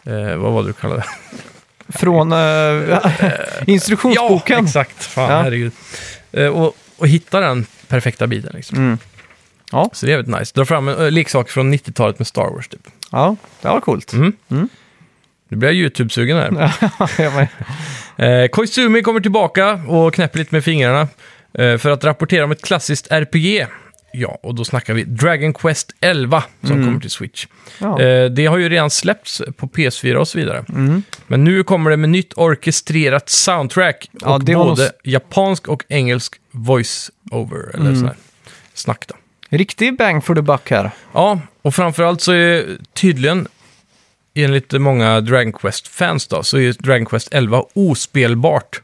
Speaker 2: eh, vad var det du kallade det?
Speaker 1: Från eh, instruktionsboken.
Speaker 2: Ja, exakt. Fan,
Speaker 1: Ja.
Speaker 2: herregud. Eh, och, och hitta den perfekta biten liksom.
Speaker 1: Mm. Ja.
Speaker 2: Så det är väldigt nice. Dra fram en eh, leksak från 90-talet med Star Wars typ.
Speaker 1: Ja, det var coolt.
Speaker 2: Mm. Nu blir jag YouTube-sugen här.
Speaker 1: Ja, men-
Speaker 2: Eh, Koizumi kommer tillbaka och knäpper lite med fingrarna eh, för att rapportera om ett klassiskt RPG. Ja, och då snackar vi Dragon Quest 11 som kommer till Switch.
Speaker 1: Mm. ja. Mm.
Speaker 2: Eh, det har ju redan släppts på PS4 och så vidare. Men nu kommer det med nytt orkestrerat soundtrack
Speaker 1: Ja,
Speaker 2: och
Speaker 1: det var
Speaker 2: både
Speaker 1: nog s- Mm.
Speaker 2: japansk och engelsk voice-over, eller sån här snack då.
Speaker 1: Riktig bang for the buck här.
Speaker 2: Ja, och framförallt så är tydligen, enligt många Dragon Quest-fans då, så är Dragon Quest 11 ospelbart.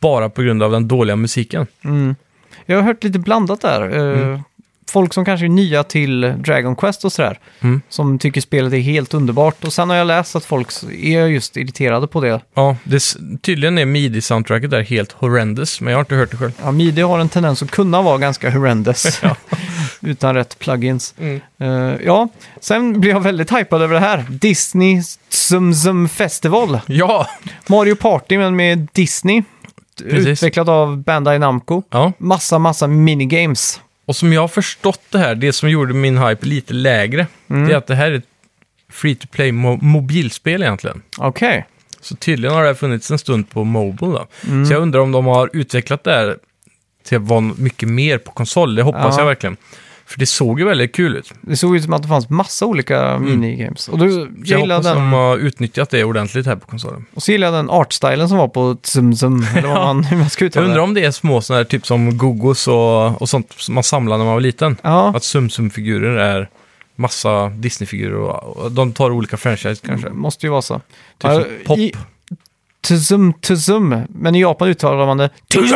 Speaker 2: Bara på grund av den dåliga musiken.
Speaker 1: Jag har hört lite blandat där. Eh,
Speaker 2: Mm.
Speaker 1: Folk som kanske är nya till Dragon Quest och sådär.
Speaker 2: Mm.
Speaker 1: Som tycker spelet är helt underbart. Och sen har jag läst att folk s- är just irriterade på det.
Speaker 2: Ja, det, s- tydligen är midi-soundtracket där helt horrendous, men jag har inte hört det själv.
Speaker 1: Ja, Midi har en tendens att kunna vara ganska horrendous. Utan rätt plugins.
Speaker 2: Mm.
Speaker 1: Eh, ja, sen blir jag väldigt hypad över det här. Disney Zum Zum Festival.
Speaker 2: Ja!
Speaker 1: Mario Party men med Disney.
Speaker 2: Precis.
Speaker 1: Utvecklat av Bandai Namco.
Speaker 2: ja!
Speaker 1: Massa, massa minigames.
Speaker 2: Och som jag har förstått det här, det som gjorde min hype lite lägre, det är att det här är ett free-to-play mo- mobilspel egentligen.
Speaker 1: Okej.
Speaker 2: Så tydligen har det här funnits en stund på Mobile då.
Speaker 1: Mm.
Speaker 2: Så jag undrar om de har utvecklat det här till att vara mycket mer på konsol. Det hoppas
Speaker 1: Ja.
Speaker 2: jag verkligen. För det såg ju väldigt kul ut. Så
Speaker 1: Det såg ut som att det fanns massa olika minigames. Och då, jag
Speaker 2: Mm. jag
Speaker 1: gillade
Speaker 2: hoppas de
Speaker 1: den,
Speaker 2: har utnyttjat det ordentligt här på konsolen.
Speaker 1: och så gillade jag den artstylen som var på Zum Zum. Eller vad man, hur man ska
Speaker 2: Jag
Speaker 1: uttala
Speaker 2: undrar
Speaker 1: det.
Speaker 2: om det är små sådana här typ som Gogos och, och sånt som man samlade när man var liten.
Speaker 1: Ja,
Speaker 2: Att Sumsum-figurer är massa Disney-figurer och, och de tar olika franchise kanske.
Speaker 1: det måste ju vara så.
Speaker 2: Typ
Speaker 1: Ja,
Speaker 2: som Pop.
Speaker 1: i- Tzum, tzum. Men i Japan uttalar man det tzum,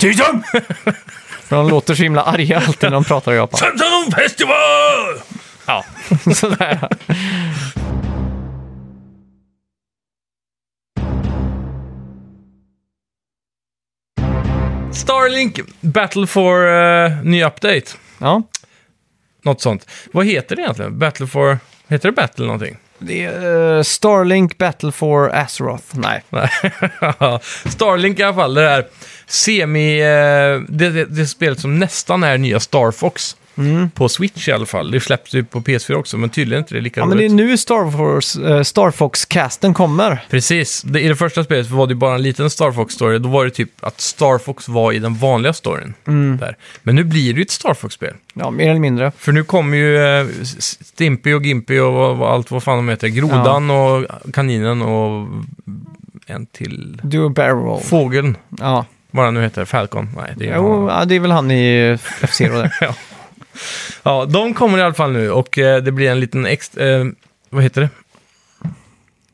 Speaker 1: tzum. För de låter så himla arga alltid när de pratar i Japan.
Speaker 2: Sumsum Festival! Ja.
Speaker 1: Sådär.
Speaker 2: Starlink Battle for eh, ny update.
Speaker 1: Ja,
Speaker 2: Något sånt. Vad heter det egentligen? Battle for... Heter det Battle någonting?
Speaker 1: det är eh, Starlink Battle for Azeroth. Nej.
Speaker 2: Nej. Starlink i alla fall. Det där semi... eh, Det, det, det spelet som nästan är nya Star Fox.
Speaker 1: Mm.
Speaker 2: På Switch i alla fall. Det släpps ju på PS4 också, men tydligen inte det är lika
Speaker 1: Ja, men det är
Speaker 2: roligt.
Speaker 1: nu Star, Wars, eh, Star Fox-casten kommer.
Speaker 2: Precis. Det, I det första spelet var det ju bara en liten Star Fox-story. Då var det typ att Star Fox var i den vanliga storyn.
Speaker 1: Mm.
Speaker 2: Där. Men nu blir det ju ett Star Fox-spel.
Speaker 1: Ja, mer eller mindre.
Speaker 2: För nu kommer ju eh, Stimpy och Gimpy och vad, vad, allt vad fan de heter. Grodan och kaninen och en till.
Speaker 1: Do a barrel roll.
Speaker 2: Fågeln,
Speaker 1: Ja.
Speaker 2: vad den nu heter. Falcon. Nej, det är
Speaker 1: Jo, ja, det är väl han i eh, F-Zero där.
Speaker 2: ja. ja, de kommer i alla fall nu och eh, det blir en liten extra, eh, vad heter det?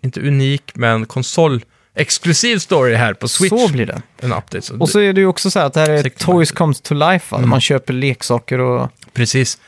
Speaker 2: Inte unik, men konsol. Exklusiv story här på Switch.
Speaker 1: Så blir det.
Speaker 2: En update. Så
Speaker 1: Och så är det ju också så här att det här är
Speaker 2: Sex
Speaker 1: Toys
Speaker 2: marker.
Speaker 1: Comes to Life,
Speaker 2: Mm.
Speaker 1: va? man köper leksaker och
Speaker 2: Precis.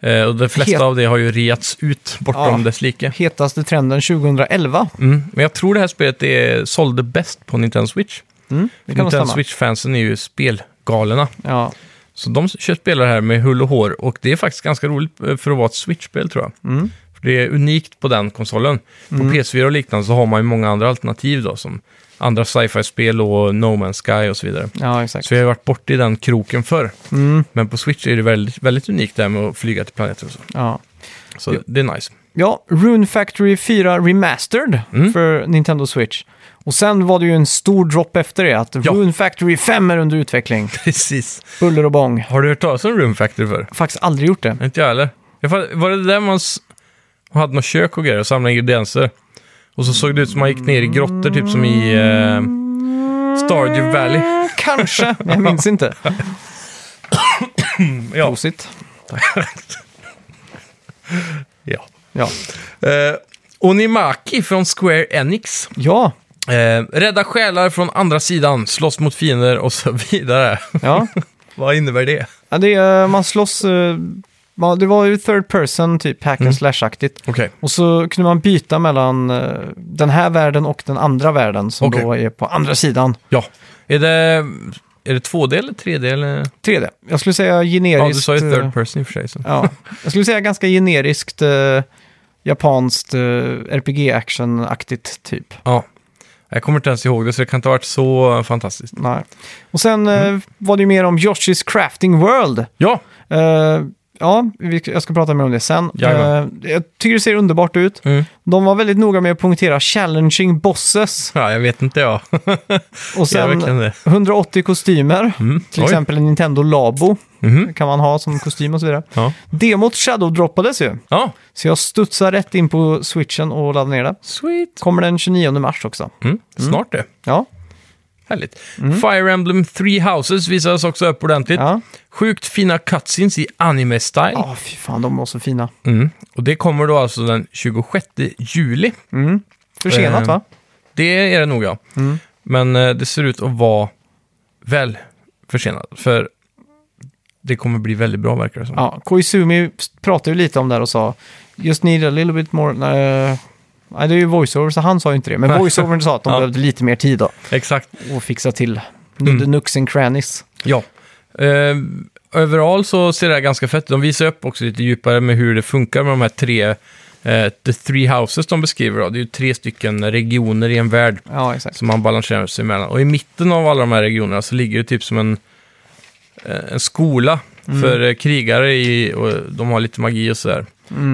Speaker 2: Eh, och de flesta
Speaker 1: Helt-
Speaker 2: av det har ju reats ut bortom
Speaker 1: Ja.
Speaker 2: dess like.
Speaker 1: hetaste trenden 2011.
Speaker 2: Mm. Men jag tror det här spelet är, sålde bäst på Nintendo Switch.
Speaker 1: Mm, det kan nog
Speaker 2: Nintendo
Speaker 1: stämma.
Speaker 2: Switch-fansen är ju spelgalna.
Speaker 1: Ja.
Speaker 2: Så de kör spelar här med hull och hår och det är faktiskt ganska roligt eh, för att vara ett Switch-spel tror jag.
Speaker 1: Mm.
Speaker 2: För det är unikt på den konsolen. På PS4 och liknande så har man ju många andra alternativ då, som andra sci-fi-spel och No Man's Sky och så vidare.
Speaker 1: ja, exakt.
Speaker 2: Så jag har ju varit borta i den kroken förr.
Speaker 1: Mm,
Speaker 2: Men på Switch är det väldigt, väldigt unikt det här med att flyga till planeter och så.
Speaker 1: ja.
Speaker 2: Så det är nice.
Speaker 1: ja, Rune Factory 4 Remastered
Speaker 2: Mm.
Speaker 1: för Nintendo Switch. Och sen var det ju en stor drop efter det, att Rune Factory 5 är under utveckling.
Speaker 2: Precis.
Speaker 1: Buller och bång.
Speaker 2: Har du hört talas om Room Factory förr?
Speaker 1: Faktiskt aldrig gjort det.
Speaker 2: Inte jag heller. Jag fatt- Var det där man s- man hade något kök och grejer och samlade ingredienser? Och så såg det ut som man gick ner i grottor, typ som i eh, Stardew Valley.
Speaker 1: Mm, Kanske, men jag minns inte.
Speaker 2: Ja.
Speaker 1: Prosit.
Speaker 2: ja.
Speaker 1: Ja.
Speaker 2: Eh, Onimaki från Square Enix.
Speaker 1: Ja.
Speaker 2: Eh, rädda själar från andra sidan, slåss mot fiender och så vidare.
Speaker 1: ja.
Speaker 2: Vad innebär det?
Speaker 1: Ja, det är, man slåss... eh, ja, Det var ju third person, typ hack
Speaker 2: Mm.
Speaker 1: and slash-aktigt.
Speaker 2: Okej.
Speaker 1: Och så kunde man byta mellan eh, den här världen och den andra världen som
Speaker 2: Okej.
Speaker 1: då är på andra sidan.
Speaker 2: Ja. Är det, är det 2D eller 3D? Eller?
Speaker 1: 3D. Jag skulle säga generiskt...
Speaker 2: Ja, du sa ju
Speaker 1: eh,
Speaker 2: third person i och för sig. Så.
Speaker 1: ja. Jag skulle säga ganska generiskt eh, japanskt eh, RPG-action-aktigt typ.
Speaker 2: Ja. Jag kommer inte ens ihåg det, så det kan inte ha varit så fantastiskt.
Speaker 1: Nej. Och sen eh,
Speaker 2: Mm.
Speaker 1: var det ju mer om Yoshi's Crafting World.
Speaker 2: Ja,
Speaker 1: Eh, ja, vi, jag ska prata mer om det sen.
Speaker 2: Jajamän.
Speaker 1: Eh, jag tycker det ser underbart ut.
Speaker 2: Mm.
Speaker 1: De var väldigt noga med att punktera challenging bosses.
Speaker 2: ja jag vet inte jag.
Speaker 1: Och
Speaker 2: Jag
Speaker 1: sen
Speaker 2: verkligen det.
Speaker 1: 180 kostymer. Till
Speaker 2: Oj.
Speaker 1: exempel en Nintendo Labo
Speaker 2: Mhm.
Speaker 1: kan man ha som kostym och så vidare.
Speaker 2: Ja.
Speaker 1: Demot shadow-droppades ju.
Speaker 2: ja,
Speaker 1: Så jag studsar rätt in på switchen och laddar ner det.
Speaker 2: sweet.
Speaker 1: Kommer den 29 mars också.
Speaker 2: Mm. Snart det.
Speaker 1: Ja,
Speaker 2: Härligt. Fire Emblem Three Houses visades också upp ordentligt.
Speaker 1: ja.
Speaker 2: Sjukt fina cutscenes i anime-style.
Speaker 1: Ja, fy fan, de var så fina.
Speaker 2: Mm. Och det kommer då alltså den 26 juli.
Speaker 1: Försenat
Speaker 2: Eh,
Speaker 1: va?
Speaker 2: Det är det nog ja. Men eh, det ser ut att vara väl försenat. För det kommer bli väldigt bra verkar det som.
Speaker 1: Ja, Koizumi pratade ju lite om det här och sa just need a little bit more... eh, Nej, det är ju voiceover, så han sa ju inte det. Men
Speaker 2: Nej.
Speaker 1: voiceovern sa att de
Speaker 2: Ja.
Speaker 1: behövde lite mer tid då.
Speaker 2: Exakt.
Speaker 1: Och fixa till mm. Nux and Crannies.
Speaker 2: Ja. Eh, överall så ser det här ganska fett ut. De visar upp också lite djupare med hur det funkar med de här tre, eh, the three houses de beskriver. Då. Det är ju tre stycken regioner i en värld
Speaker 1: Ja, exakt.
Speaker 2: som man balanserar sig mellan. Och i mitten av alla de här regionerna så ligger det typ som en, eh, en skola för eh, krigare i, och de har lite magi och sådär.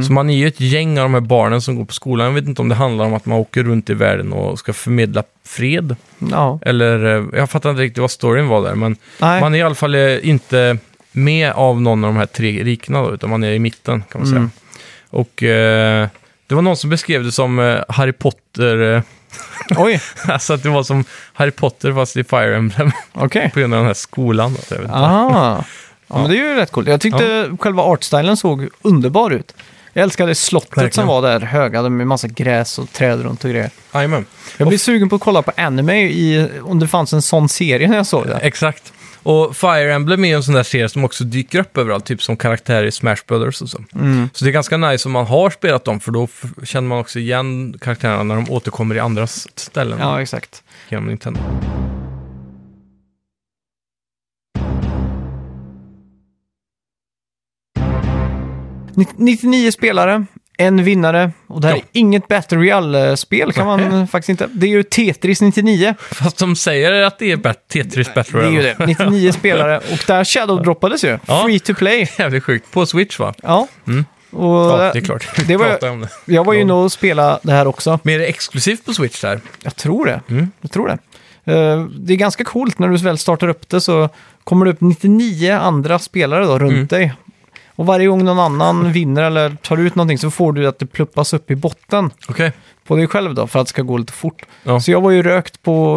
Speaker 2: Så man är ju ett gäng av de här barnen som går på skolan. Jag vet inte om det handlar om att man åker runt i världen och ska förmedla fred.
Speaker 1: Ja.
Speaker 2: Eller, eh, jag fattar inte riktigt vad storyn var där, men
Speaker 1: Nej.
Speaker 2: man är i alla fall eh, inte med av någon av de här tre rikena då, utan man är i mitten kan man säga.
Speaker 1: Mm.
Speaker 2: Och eh, det var någon som beskrev det som eh, Harry Potter, eh,
Speaker 1: Oj,
Speaker 2: alltså att det var som Harry Potter fast i Fire Emblem
Speaker 1: okej.
Speaker 2: på grund av den här skolan. Då, så jag vet inte.
Speaker 1: Ah. Ja, men det är ju rätt coolt. Jag tyckte själva artstylen såg underbar ut. Jag älskade slottet som
Speaker 2: Verkligen.
Speaker 1: var där höga med massa gräs och träd runt och grejer.
Speaker 2: Jajamän.
Speaker 1: Jag blir sugen på att kolla på anime i, om det fanns en sån serie när jag såg det.
Speaker 2: Exakt. Och Fire Emblem är ju en sån där serie som också dyker upp överallt, typ som karaktärer i Smash Brothers och så.
Speaker 1: Mm.
Speaker 2: Så det är ganska nice om man har spelat dem, för då f- känner man också igen karaktärerna när de återkommer i andra s- ställen
Speaker 1: Ja, exakt.
Speaker 2: genom Nintendo.
Speaker 1: Ni- 99 spelare, en vinnare. Och det här
Speaker 2: Ja.
Speaker 1: är inget Battle Royale-spel kan man
Speaker 2: Nähä.
Speaker 1: eh, faktiskt inte. Det är ju Tetris 99.
Speaker 2: Fast de säger att det är bet- Tetris Battle
Speaker 1: Det är ju
Speaker 2: Royale.
Speaker 1: det. 99 spelare. Och där Shadow droppades ju.
Speaker 2: Ja.
Speaker 1: Free to play.
Speaker 2: Jävligt sjukt. På Switch va?
Speaker 1: Ja. Och
Speaker 2: Ja, det är klart.
Speaker 1: det var-
Speaker 2: Prata om det.
Speaker 1: Jag var ju
Speaker 2: Ja.
Speaker 1: inne och spelade det här också.
Speaker 2: Men är det exklusivt på Switch där?
Speaker 1: Jag tror det. Jag tror det. Eh, det är ganska coolt när du väl startar upp det så kommer det upp 99 andra spelare då runt
Speaker 2: Mm.
Speaker 1: dig. Och varje gång någon annan vinner eller tar ut någonting så får du att det pluppas upp i botten
Speaker 2: Okej.
Speaker 1: på dig själv då för att det ska gå lite fort.
Speaker 2: Ja.
Speaker 1: Så jag var ju rökt på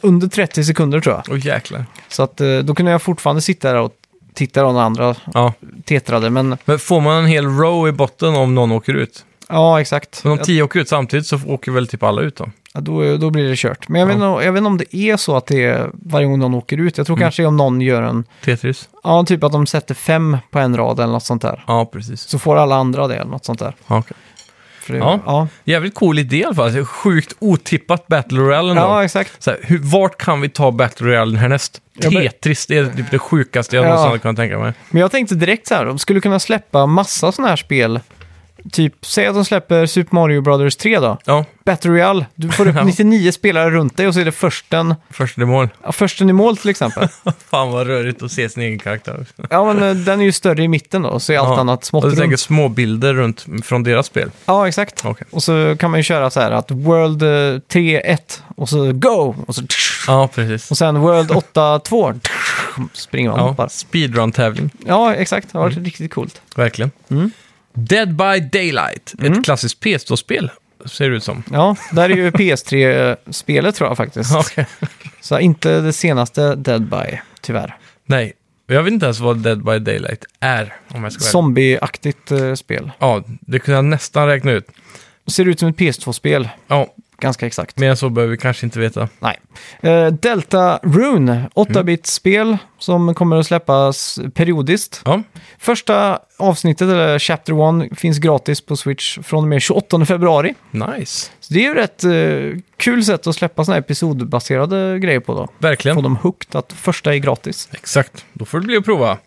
Speaker 1: under 30 sekunder tror jag.
Speaker 2: Åh jäklar.
Speaker 1: Så att, eh, då kunde jag fortfarande sitta där och titta då när andra
Speaker 2: Ja.
Speaker 1: tetrade. Men
Speaker 2: Men får man en hel row i botten om någon åker ut?
Speaker 1: ja, exakt.
Speaker 2: Men om tio åker ut samtidigt så åker väl typ alla ut då?
Speaker 1: Ja, då, då blir det kört. Men jag, vet, inte- jag vet inte om det är så att det är varje gång någon åker ut. Jag
Speaker 2: Mm.
Speaker 1: tror kanske om någon gör en,
Speaker 2: Tetris?
Speaker 1: ja typ att de sätter fem på en rad eller något sånt där.
Speaker 2: Ja, precis.
Speaker 1: Så får alla andra det eller något sånt där.
Speaker 2: Ja, okej.
Speaker 1: För det,
Speaker 2: Ja.
Speaker 1: Ja.
Speaker 2: Jävligt cool idé i alla fall. Sjukt otippat Battle Royale ändå.
Speaker 1: ja, exakt.
Speaker 2: Så här, hur, vart kan vi ta Battle Royale härnäst?
Speaker 1: Ja, men-
Speaker 2: Tetris, det är typ det sjukaste jag
Speaker 1: Ja.
Speaker 2: någonsin hade kunnat tänka mig.
Speaker 1: Men jag tänkte direkt så här, de skulle kunna släppa massa sådana här spel. Typ, säg att de släpper Super Mario Brothers 3 då.
Speaker 2: Ja,
Speaker 1: Battle Royale, du får upp
Speaker 2: Ja.
Speaker 1: 99 spelare runt dig och så är det försten,
Speaker 2: första i mål.
Speaker 1: ja, försten i mål till exempel.
Speaker 2: Fan vad rörigt att se sin egen karaktär.
Speaker 1: Ja, men eh, den är ju större i mitten då, så är allt
Speaker 2: Ja.
Speaker 1: annat smått
Speaker 2: Och du tänker
Speaker 1: runt.
Speaker 2: små bilder runt från deras spel.
Speaker 1: Ja, exakt.
Speaker 2: Okej.
Speaker 1: Och så kan man ju köra så här att World eh, 3-1 och så Go! Och, så,
Speaker 2: Ja, precis.
Speaker 1: och sen World 8-2 springer man och
Speaker 2: Ja, Mm.
Speaker 1: hoppar.
Speaker 2: Speedrun-tävling,
Speaker 1: Ja, exakt. Det har varit riktigt coolt.
Speaker 2: verkligen. Dead by Daylight, ett klassiskt PS2-spel, ser det ut som.
Speaker 1: Ja, där är ju PS3-spelet tror jag faktiskt.
Speaker 2: Okej.
Speaker 1: Så inte det senaste Dead by, tyvärr.
Speaker 2: Nej, jag vet inte ens vad Dead by Daylight är, om jag ska vara ärlig.
Speaker 1: Zombieaktigt eh, spel.
Speaker 2: Ja, det kunde jag nästan räkna ut.
Speaker 1: Ser ut som ett PS2-spel,
Speaker 2: Ja,
Speaker 1: ganska exakt.
Speaker 2: mer än så behöver vi kanske inte veta.
Speaker 1: Nej. Eh, Delta Rune, 8-bit-spel som kommer att släppas periodiskt.
Speaker 2: Ja,
Speaker 1: Första avsnittet, eller Chapter 1, finns gratis på Switch från och med 28 februari.
Speaker 2: nice.
Speaker 1: Så det är ju rätt eh, kul sätt att släppa sådana här episodbaserade grejer på då. Få
Speaker 2: Verkligen.
Speaker 1: dem hooked att första är gratis.
Speaker 2: Exakt, då får det bli att prova.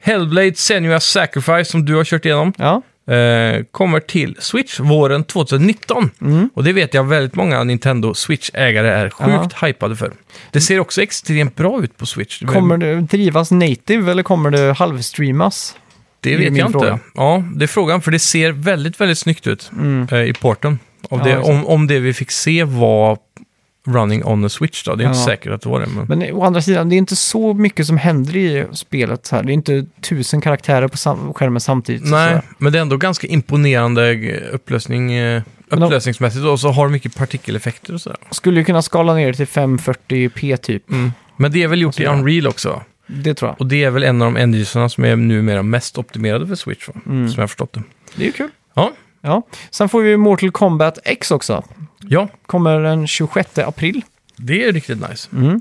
Speaker 2: Hellblade Senua Sacrifice som du har kört igenom
Speaker 1: Ja,
Speaker 2: eh, kommer till Switch våren 2019.
Speaker 1: Mm.
Speaker 2: Och det vet jag väldigt många Nintendo Switch-ägare är sjukt hypade för. Det ser också extremt bra ut på Switch. Det-
Speaker 1: kommer det drivas native eller kommer det halvstreamas?
Speaker 2: det
Speaker 1: är
Speaker 2: vet
Speaker 1: min
Speaker 2: jag
Speaker 1: fråga.
Speaker 2: inte. Ja, det är frågan för det ser väldigt, väldigt snyggt ut
Speaker 1: Mm.
Speaker 2: eh, i porten. Av
Speaker 1: Ja,
Speaker 2: det,
Speaker 1: exakt.
Speaker 2: om, om det vi fick se var running on the Switch då. Det är
Speaker 1: Ja.
Speaker 2: inte säkert att det var det. Men...
Speaker 1: Men å andra sidan, det är inte så mycket som händer i spelet så här. Det är inte tusen karaktärer på sam- skärmen samtidigt. så
Speaker 2: Nej,
Speaker 1: sådär.
Speaker 2: men det är ändå ganska imponerande eh, upplösning, eh,
Speaker 1: Men de-
Speaker 2: upplösningsmässigt och så har de mycket partikeleffekter och sådär.
Speaker 1: Skulle ju kunna skala ner till 540p typ.
Speaker 2: Men det är väl
Speaker 1: Alltså,
Speaker 2: gjort i Unreal också?
Speaker 1: Det tror jag.
Speaker 2: Och det är väl en av de enginerna som är numera mest optimerade för Switch, va?
Speaker 1: Mm.
Speaker 2: som jag har förstått det.
Speaker 1: Det är ju kul.
Speaker 2: Ja,
Speaker 1: Ja. Sen får vi ju Mortal Kombat X också.
Speaker 2: ja
Speaker 1: kommer den 26 april.
Speaker 2: det är riktigt nice.
Speaker 1: Mm.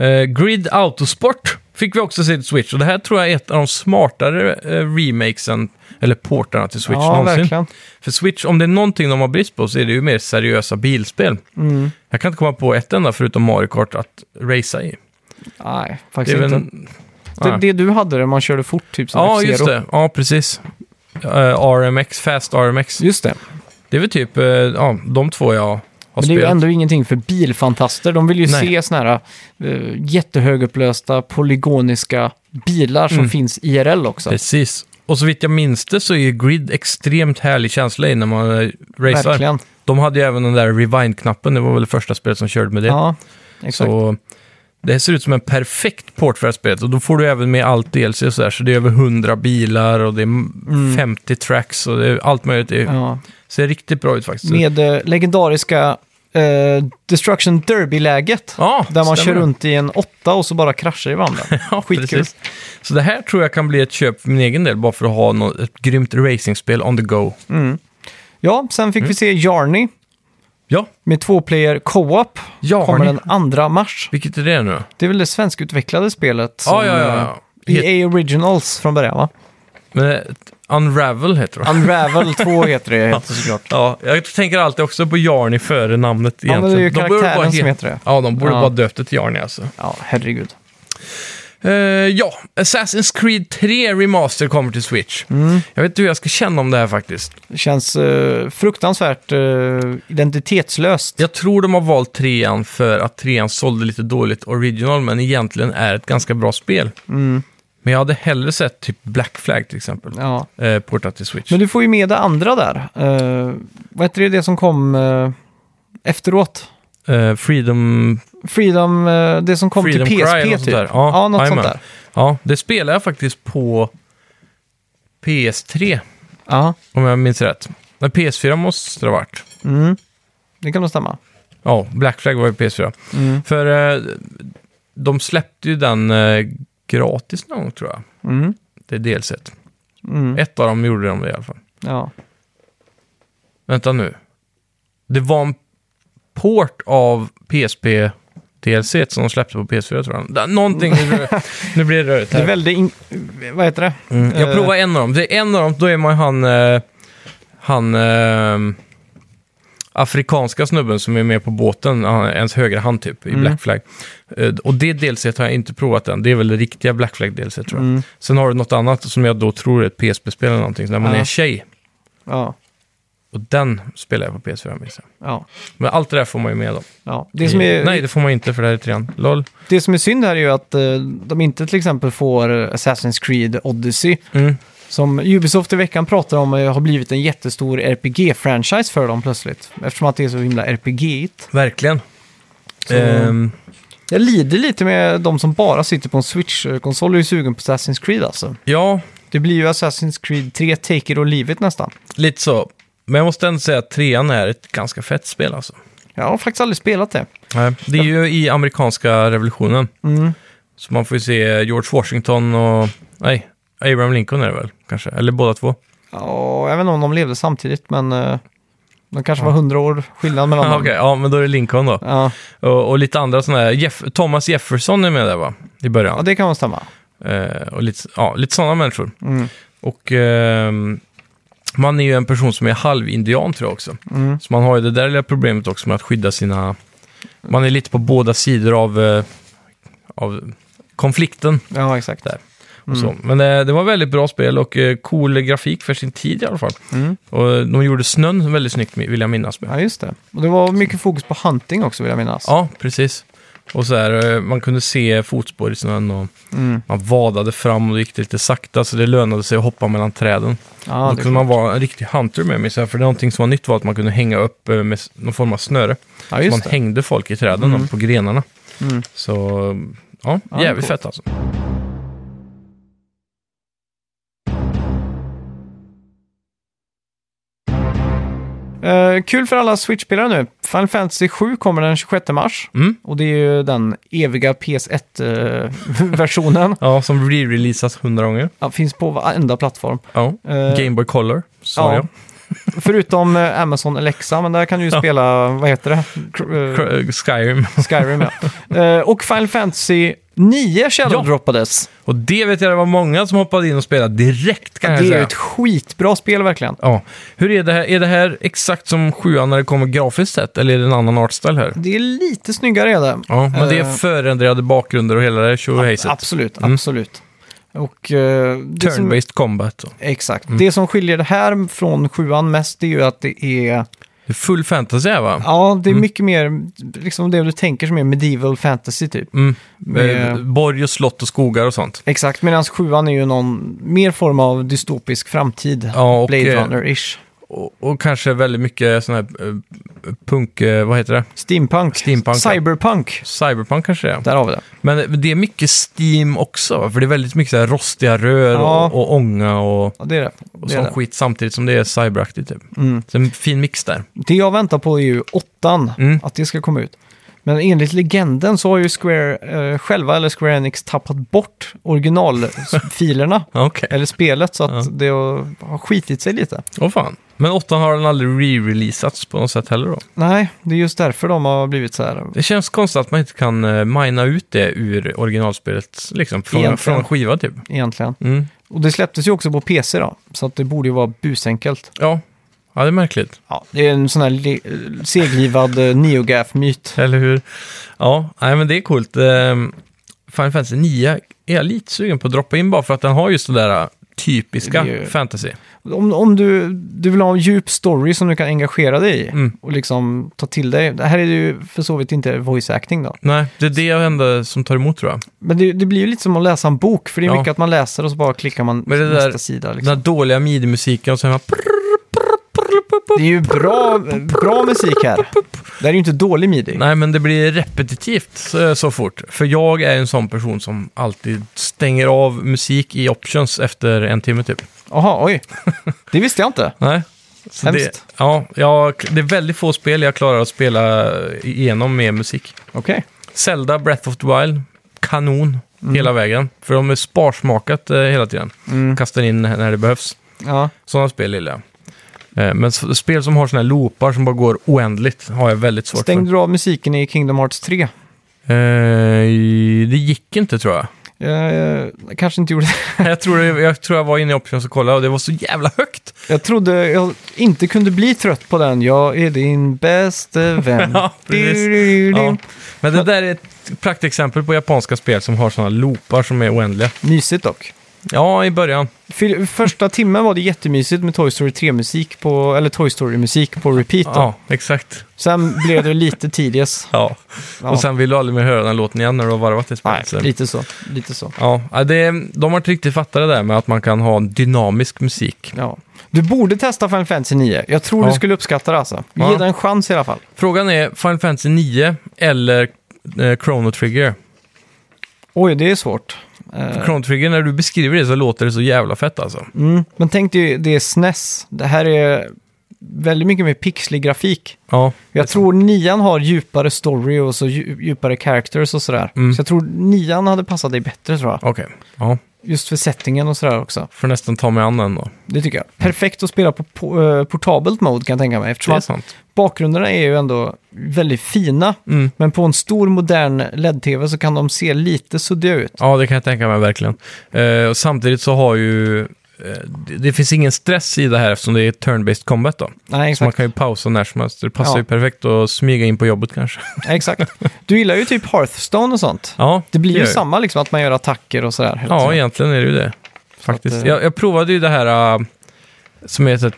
Speaker 2: Eh, Grid Autosport fick vi också se till Switch och det här tror jag är ett av de smartare eh, remakesen, eller portarna till Switch
Speaker 1: ja,
Speaker 2: någonsin.
Speaker 1: verkligen.
Speaker 2: För Switch, om det är någonting de har brist på så är det ju mer seriösa bilspel.
Speaker 1: Mm.
Speaker 2: Jag kan inte komma på ett enda förutom Mario Kart att racea i.
Speaker 1: Nej,
Speaker 2: Det är
Speaker 1: faktiskt
Speaker 2: väl...
Speaker 1: inte. Det,
Speaker 2: Nej.
Speaker 1: det du hade där man körde fort, typ som
Speaker 2: Ja,
Speaker 1: F-Zero.
Speaker 2: just det. Ja, precis. Eh, RMX, Fast RMX.
Speaker 1: Just det.
Speaker 2: Det är väl typ eh, ja, de två jag har
Speaker 1: Men det är ju
Speaker 2: spelat.
Speaker 1: ändå ingenting för bilfantaster. De vill ju
Speaker 2: Nej.
Speaker 1: se såna här eh, jättehögupplösta, polygoniska bilar
Speaker 2: Mm.
Speaker 1: som finns IRL också.
Speaker 2: Precis. Och så vitt jag minns det så är ju Grid extremt härlig känsla i när man eh, racear.
Speaker 1: Verkligen.
Speaker 2: De hade ju även den där rewind-knappen, det var väl det första spelet som körde med det.
Speaker 1: Ja, exakt.
Speaker 2: så det ser ut som en perfekt port för det här spelet. Och då får du även med allt DLC och sådär. Så det är över 100 bilar och det är m- 50 tracks och det är allt möjligt. Det
Speaker 1: Mm. Ja.
Speaker 2: ser riktigt bra ut faktiskt.
Speaker 1: Med eh, legendariska eh, Destruction Derby-läget.
Speaker 2: Ja,
Speaker 1: där man
Speaker 2: stämmer.
Speaker 1: kör runt i en åtta och så bara kraschar i varandra.
Speaker 2: Ja,
Speaker 1: Skitkul.
Speaker 2: precis. Så det här tror jag kan bli ett köp för min egen del, bara för att ha något, ett grymt racingspel on the go.
Speaker 1: Mm. Ja, sen
Speaker 2: Mm.
Speaker 1: fick vi se Jarny
Speaker 2: Ja,
Speaker 1: med två player co-op.
Speaker 2: Jarny.
Speaker 1: Kommer den 2 mars.
Speaker 2: vilket är det nu?
Speaker 1: Det är väl det svenskutvecklade spelet som
Speaker 2: Ja, ja, ja.
Speaker 1: eh, EA Originals från början va?
Speaker 2: Men, eh, Unravel heter det.
Speaker 1: Unravel 2 heter det heter såklart.
Speaker 2: Ja, jag tänker alltid också på Jarny före namnet
Speaker 1: men det är
Speaker 2: egentligen.
Speaker 1: ju
Speaker 2: De borde
Speaker 1: karaktären
Speaker 2: bara
Speaker 1: som
Speaker 2: he-
Speaker 1: heter det.
Speaker 2: Ja, de borde
Speaker 1: Ja.
Speaker 2: bara döpt det till Jarny alltså.
Speaker 1: Ja, herregud.
Speaker 2: Eh, ja, Assassin's Creed 3 Remaster kommer till Switch.
Speaker 1: Mm.
Speaker 2: Jag vet inte hur jag ska känna om det här faktiskt.
Speaker 1: Det känns eh, fruktansvärt eh, identitetslöst.
Speaker 2: Jag tror de har valt trean för att trean sålde lite dåligt original, men egentligen är ett ganska bra spel.
Speaker 1: Mm,
Speaker 2: Men jag hade hellre sett typ Black Flag till exempel,
Speaker 1: Ja.
Speaker 2: eh, portat till Switch.
Speaker 1: Men du får ju med det andra där. Eh, vad heter det, det som kom eh, efteråt?
Speaker 2: Eh, Freedom...
Speaker 1: Freedom, eh, det som kom
Speaker 2: Freedom
Speaker 1: till
Speaker 2: Cry
Speaker 1: PSP
Speaker 2: eller något sånt
Speaker 1: typ.
Speaker 2: där. Ja,
Speaker 1: något sånt
Speaker 2: jajamän.
Speaker 1: där.
Speaker 2: Ja, det spelar jag faktiskt på PS3,
Speaker 1: Ja,
Speaker 2: om jag minns rätt. Men PS4 måste det ha varit.
Speaker 1: Mm. det kan nog stämma.
Speaker 2: Ja, Black Flag var ju PS4.
Speaker 1: Mm.
Speaker 2: För eh, de släppte ju den eh, gratis någon gång, tror jag.
Speaker 1: Mm.
Speaker 2: Det är delset.
Speaker 1: Mm.
Speaker 2: Ett av dem gjorde de det i alla fall.
Speaker 1: Ja.
Speaker 2: Vänta nu. Det var en port av PSP DLC som de släppte på PS4 tror jag. Da- Någonting, nu blir det rörigt
Speaker 1: Det är
Speaker 2: här.
Speaker 1: väldigt, in... vad heter det?
Speaker 2: Mm. Jag provar en av dem. Det är en av dem, då är man ju han, eh, han eh, afrikanska snubben som är med på båten, han- ens högra hand typ,
Speaker 1: Mm.
Speaker 2: i Black Flag. Eh, och det delset har jag inte provat än. Det är väl det riktiga Black Flag delset tror jag.
Speaker 1: Mm.
Speaker 2: Sen har du något annat som jag då tror är ett PSP-spel eller någonting, när man
Speaker 1: Ja.
Speaker 2: är tjej.
Speaker 1: Ja,
Speaker 2: Och den spelar jag på PS4 minns jag.
Speaker 1: ja,
Speaker 2: Men allt det där får man ju med då.
Speaker 1: ja. Det, som
Speaker 2: I-
Speaker 1: är,
Speaker 2: Nej, det får man inte för det här är trean. LOL.
Speaker 1: det som är synd här är ju att eh, de inte till exempel får eh, Assassin's Creed Odyssey.
Speaker 2: Mm.
Speaker 1: Som Ubisoft i veckan pratar om eh, har blivit en jättestor RPG-franchise för dem plötsligt. Eftersom att det är så himla RPG-igt.
Speaker 2: Verkligen.
Speaker 1: Så-
Speaker 2: Ehm,
Speaker 1: Jag lider lite med de som bara sitter på en Switch-konsol och är sugen på Assassin's Creed alltså.
Speaker 2: ja,
Speaker 1: Det blir ju Assassin's Creed 3, Take It or Leave It nästan.
Speaker 2: lite så. Men jag måste ändå säga att trean är ett ganska fett spel alltså.
Speaker 1: Jag har faktiskt aldrig spelat det.
Speaker 2: Nej, Det är ju i amerikanska revolutionen.
Speaker 1: Mm.
Speaker 2: Så man får ju se George Washington och... Nej, Abraham Lincoln är det väl kanske? Eller båda två.
Speaker 1: Ja, jag vet inte om de levde samtidigt, men eh, de kanske var hundra år skillnad mellan
Speaker 2: Ja,
Speaker 1: dem.
Speaker 2: Okej, ja men då är det Lincoln då.
Speaker 1: Ja.
Speaker 2: Och, och lite andra sådana här... Jeff, Thomas Jefferson är med där va? I början.
Speaker 1: ja, det kan nog stämma.
Speaker 2: Eh, och lite, ja, lite sådana människor.
Speaker 1: Mm.
Speaker 2: Och ehm, man är ju en person som är halvindian tror jag också.
Speaker 1: Mm.
Speaker 2: Så man har ju det där lilla problemet också med att skydda sina... Man är lite på båda sidor av, eh, av konflikten.
Speaker 1: Ja, exakt.
Speaker 2: Där. Och
Speaker 1: Mm.
Speaker 2: så. Men eh, det var väldigt bra spel och eh, cool grafik för sin tid i alla fall.
Speaker 1: Mm.
Speaker 2: Och eh, de gjorde snön väldigt snyggt vill jag minnas. Med.
Speaker 1: Ja, just det. Och det var mycket fokus på hunting också, vill jag minnas.
Speaker 2: Ja, precis. Och så här, eh, man kunde se fotspår i snön och
Speaker 1: Mm.
Speaker 2: man vadade fram och det gick lite sakta så det lönade sig att hoppa mellan träden.
Speaker 1: Ja,
Speaker 2: då
Speaker 1: det
Speaker 2: kunde man vara en riktig hunter med mig, så här, för någonting som var nytt var att man kunde hänga upp eh, med s- någon form av snöre.
Speaker 1: ja,
Speaker 2: så man
Speaker 1: just det.
Speaker 2: hängde folk i träden
Speaker 1: Mm.
Speaker 2: då, på grenarna.
Speaker 1: Mm.
Speaker 2: Så ja,
Speaker 1: Ja,
Speaker 2: jävligt
Speaker 1: coolt.
Speaker 2: fett alltså.
Speaker 1: Eh, kul för alla Switch-spelare nu. Final Fantasy 7 kommer den 26 mars.
Speaker 2: Mm.
Speaker 1: Och det är ju den eviga PS1-versionen.
Speaker 2: Ja, som re-releasas hundra gånger.
Speaker 1: eh, ja, finns på varenda plattform.
Speaker 2: Ja.
Speaker 1: Eh,
Speaker 2: Game Boy Color, sa
Speaker 1: ja.
Speaker 2: jag.
Speaker 1: Förutom eh, Amazon Alexa, men där kan du ju spela, vad heter det? Kr- eh,
Speaker 2: Cr- eh, Skyrim.
Speaker 1: Skyrim, ja. Eh, och Final Fantasy 9 shadowdroppades.
Speaker 2: Och det vet jag, det var många som hoppade in och spelade direkt kan jag
Speaker 1: det är ju
Speaker 2: säga.
Speaker 1: ett skitbra spel verkligen.
Speaker 2: Ja. Hur är det här? Är det här exakt som sjuan när det kommer grafiskt sett? Eller är det en annan artstyle här?
Speaker 1: Det är lite snyggare är det.
Speaker 2: Ja, men det är
Speaker 1: Eh.
Speaker 2: förändrade bakgrunder och hela det här tjohejset.
Speaker 1: Absolut,
Speaker 2: Mm.
Speaker 1: absolut. Och eh, det som-
Speaker 2: Turn-based combat. och-
Speaker 1: Exakt. Det som skiljer det här från sjuan mest det är ju att det är...
Speaker 2: Det är full fantasy här va?
Speaker 1: Ja, det är mycket mer liksom det du tänker som är medieval fantasy typ.
Speaker 2: Mm.
Speaker 1: Med-
Speaker 2: Eh, Borg och slott och skogar och sånt.
Speaker 1: Exakt, medan sjuan är ju någon mer form av dystopisk framtid.
Speaker 2: Ja, och,
Speaker 1: Blade
Speaker 2: eh,
Speaker 1: Runner-ish.
Speaker 2: Och, och kanske väldigt mycket sån här eh, punk, eh, vad heter det?
Speaker 1: Steampunk.
Speaker 2: Steampunk, ja.
Speaker 1: Cyberpunk.
Speaker 2: Cyberpunk kanske det är.
Speaker 1: Där har vi det.
Speaker 2: Men det är mycket Steam också, va? för det är väldigt mycket så här rostiga rör
Speaker 1: Ja.
Speaker 2: och, och ånga och,
Speaker 1: Ja, det är det.
Speaker 2: och
Speaker 1: det, är
Speaker 2: sån
Speaker 1: det.
Speaker 2: skit samtidigt som det är cyberaktigt. Typ.
Speaker 1: Mm.
Speaker 2: Så en fin mix där.
Speaker 1: Det jag väntar på är ju åttan,
Speaker 2: Mm.
Speaker 1: att det ska komma ut. Men enligt legenden så har ju Square eh, själva, eller Square Enix, tappat bort originalfilerna,
Speaker 2: Okej.
Speaker 1: eller spelet, så att
Speaker 2: Ja.
Speaker 1: det har skitit sig lite.
Speaker 2: Åh fan. Men åttan har den aldrig re-releasats på något sätt heller då?
Speaker 1: Nej, det är just därför de har blivit så här.
Speaker 2: Det känns konstigt att man inte kan eh, mina ut det ur originalspelet, liksom. Från,
Speaker 1: Egentligen.
Speaker 2: från en skiva typ.
Speaker 1: Egentligen.
Speaker 2: Mm.
Speaker 1: Och det släpptes ju också på PC då, så att det borde ju vara busenkelt.
Speaker 2: Ja. ja, det är märkligt.
Speaker 1: Ja, det är en sån här le- eh, seglivad eh, neogaf-myt.
Speaker 2: Eller hur? Ja, nej, men det är coolt. Ehm, Final Fantasy 9 är jag lite sugen på att droppa in bara för att den har just det där äh, typiska
Speaker 1: Det är ju-
Speaker 2: fantasy.
Speaker 1: Om, om du, du vill ha en djup story som du kan engagera dig i
Speaker 2: Mm.
Speaker 1: och liksom ta till dig. Det här är det ju för så vitt inte voice acting då.
Speaker 2: Nej, det är det enda som tar emot tror jag.
Speaker 1: Men det, det blir ju lite som att läsa en bok, för det är
Speaker 2: Ja.
Speaker 1: mycket att man läser och så bara klickar man
Speaker 2: Men det där-
Speaker 1: nästa sida. Liksom.
Speaker 2: Den här dåliga midi-musiken och sen bara...
Speaker 1: Det är ju bra, bra musik här. Det här är ju inte dålig midi.
Speaker 2: Nej, men det blir repetitivt så, så fort. För jag är en sån person som alltid stänger av musik i options efter en timme typ.
Speaker 1: Jaha, oj. Det visste jag inte.
Speaker 2: Nej. Så det,
Speaker 1: Hemskt.
Speaker 2: ja, jag, det är väldigt få spel jag klarar att spela igenom med musik.
Speaker 1: Okej.
Speaker 2: Zelda Breath of the Wild, kanon hela vägen. För de är sparsmakat eh, hela tiden. Kastar in när det behövs.
Speaker 1: Ja.
Speaker 2: Sådana spel gillar jag. Eh, men s- spel som har såna här loopar som bara går oändligt har jag väldigt svårt
Speaker 1: Stängde
Speaker 2: för.
Speaker 1: du av musiken i Kingdom Hearts 3?
Speaker 2: Eh, det gick inte tror jag.
Speaker 1: Jag Eh, kanske inte gjorde det.
Speaker 2: jag, tror, jag tror jag var inne i options och kollade och det var så jävla högt.
Speaker 1: Jag trodde jag inte kunde bli trött på den. Jag är din bäste vän.
Speaker 2: Ja, precis.
Speaker 1: Du, du, du.
Speaker 2: Ja. Men det där är ett praktexempel på japanska spel som har sådana loopar som är oändliga.
Speaker 1: Mysigt dock.
Speaker 2: Ja, i början.
Speaker 1: För- Första timmen var det jättemysigt med Toy Story 3-musik på, eller Toy Story-musik på repeat. Då.
Speaker 2: Ja, exakt.
Speaker 1: Sen blev det lite tidigas.
Speaker 2: Ja.
Speaker 1: Ja.
Speaker 2: Och sen vill du aldrig mer höra den låten igen när du har varvat det
Speaker 1: Nej,
Speaker 2: spelet. Så-
Speaker 1: lite så. Lite så.
Speaker 2: Ja, ja, det, de har inte riktigt fattat det där med att man kan ha en dynamisk musik.
Speaker 1: Ja. Du borde testa Final Fantasy 9. Jag tror
Speaker 2: Ja.
Speaker 1: du skulle uppskatta det alltså. Ge
Speaker 2: Ja.
Speaker 1: det en chans i alla fall.
Speaker 2: Frågan är Final Fantasy 9 eller eh, Chrono Trigger.
Speaker 1: Oj, det är svårt. Eh,
Speaker 2: Chrono Trigger, när du beskriver det så låter det så jävla fett alltså.
Speaker 1: mm. Men tänk dig, det är SNES. Det här är väldigt mycket mer pixlig grafik.
Speaker 2: Ja,
Speaker 1: Jag tror nian har djupare story och så dju- djupare characters och sådär.
Speaker 2: Mm.
Speaker 1: Så jag tror nian hade passat dig bättre tror jag.
Speaker 2: okej. Ja,
Speaker 1: Just för settingen och sådär också.
Speaker 2: får nästan ta mig an den då.
Speaker 1: Det tycker jag. Perfekt att spela på po- eh, portabelt mode kan jag tänka mig.
Speaker 2: Det
Speaker 1: Eftersom
Speaker 2: är
Speaker 1: att
Speaker 2: sant.
Speaker 1: bakgrunderna är ju ändå väldigt fina.
Speaker 2: Mm.
Speaker 1: Men på en stor modern LED-TV så kan de se lite suddiga ut.
Speaker 2: Ja, det kan jag tänka mig verkligen. Eh, och samtidigt så har ju... eh, det- Det finns ingen stress i det här eftersom det är turn-based combat då.
Speaker 1: Nej,
Speaker 2: Så man
Speaker 1: exakt.
Speaker 2: kan ju pausa när som helst. Det passar
Speaker 1: Ja.
Speaker 2: ju perfekt att smyga in på jobbet kanske.
Speaker 1: exakt. Du gillar ju typ Hearthstone och sånt.
Speaker 2: Ja,
Speaker 1: Det blir
Speaker 2: gör
Speaker 1: ju
Speaker 2: jag.
Speaker 1: samma liksom, att man gör attacker och sådär. hela
Speaker 2: Ja,
Speaker 1: tiden.
Speaker 2: egentligen är det ju det. Faktiskt.
Speaker 1: att, eh,
Speaker 2: jag, jag provade ju det här äh, som heter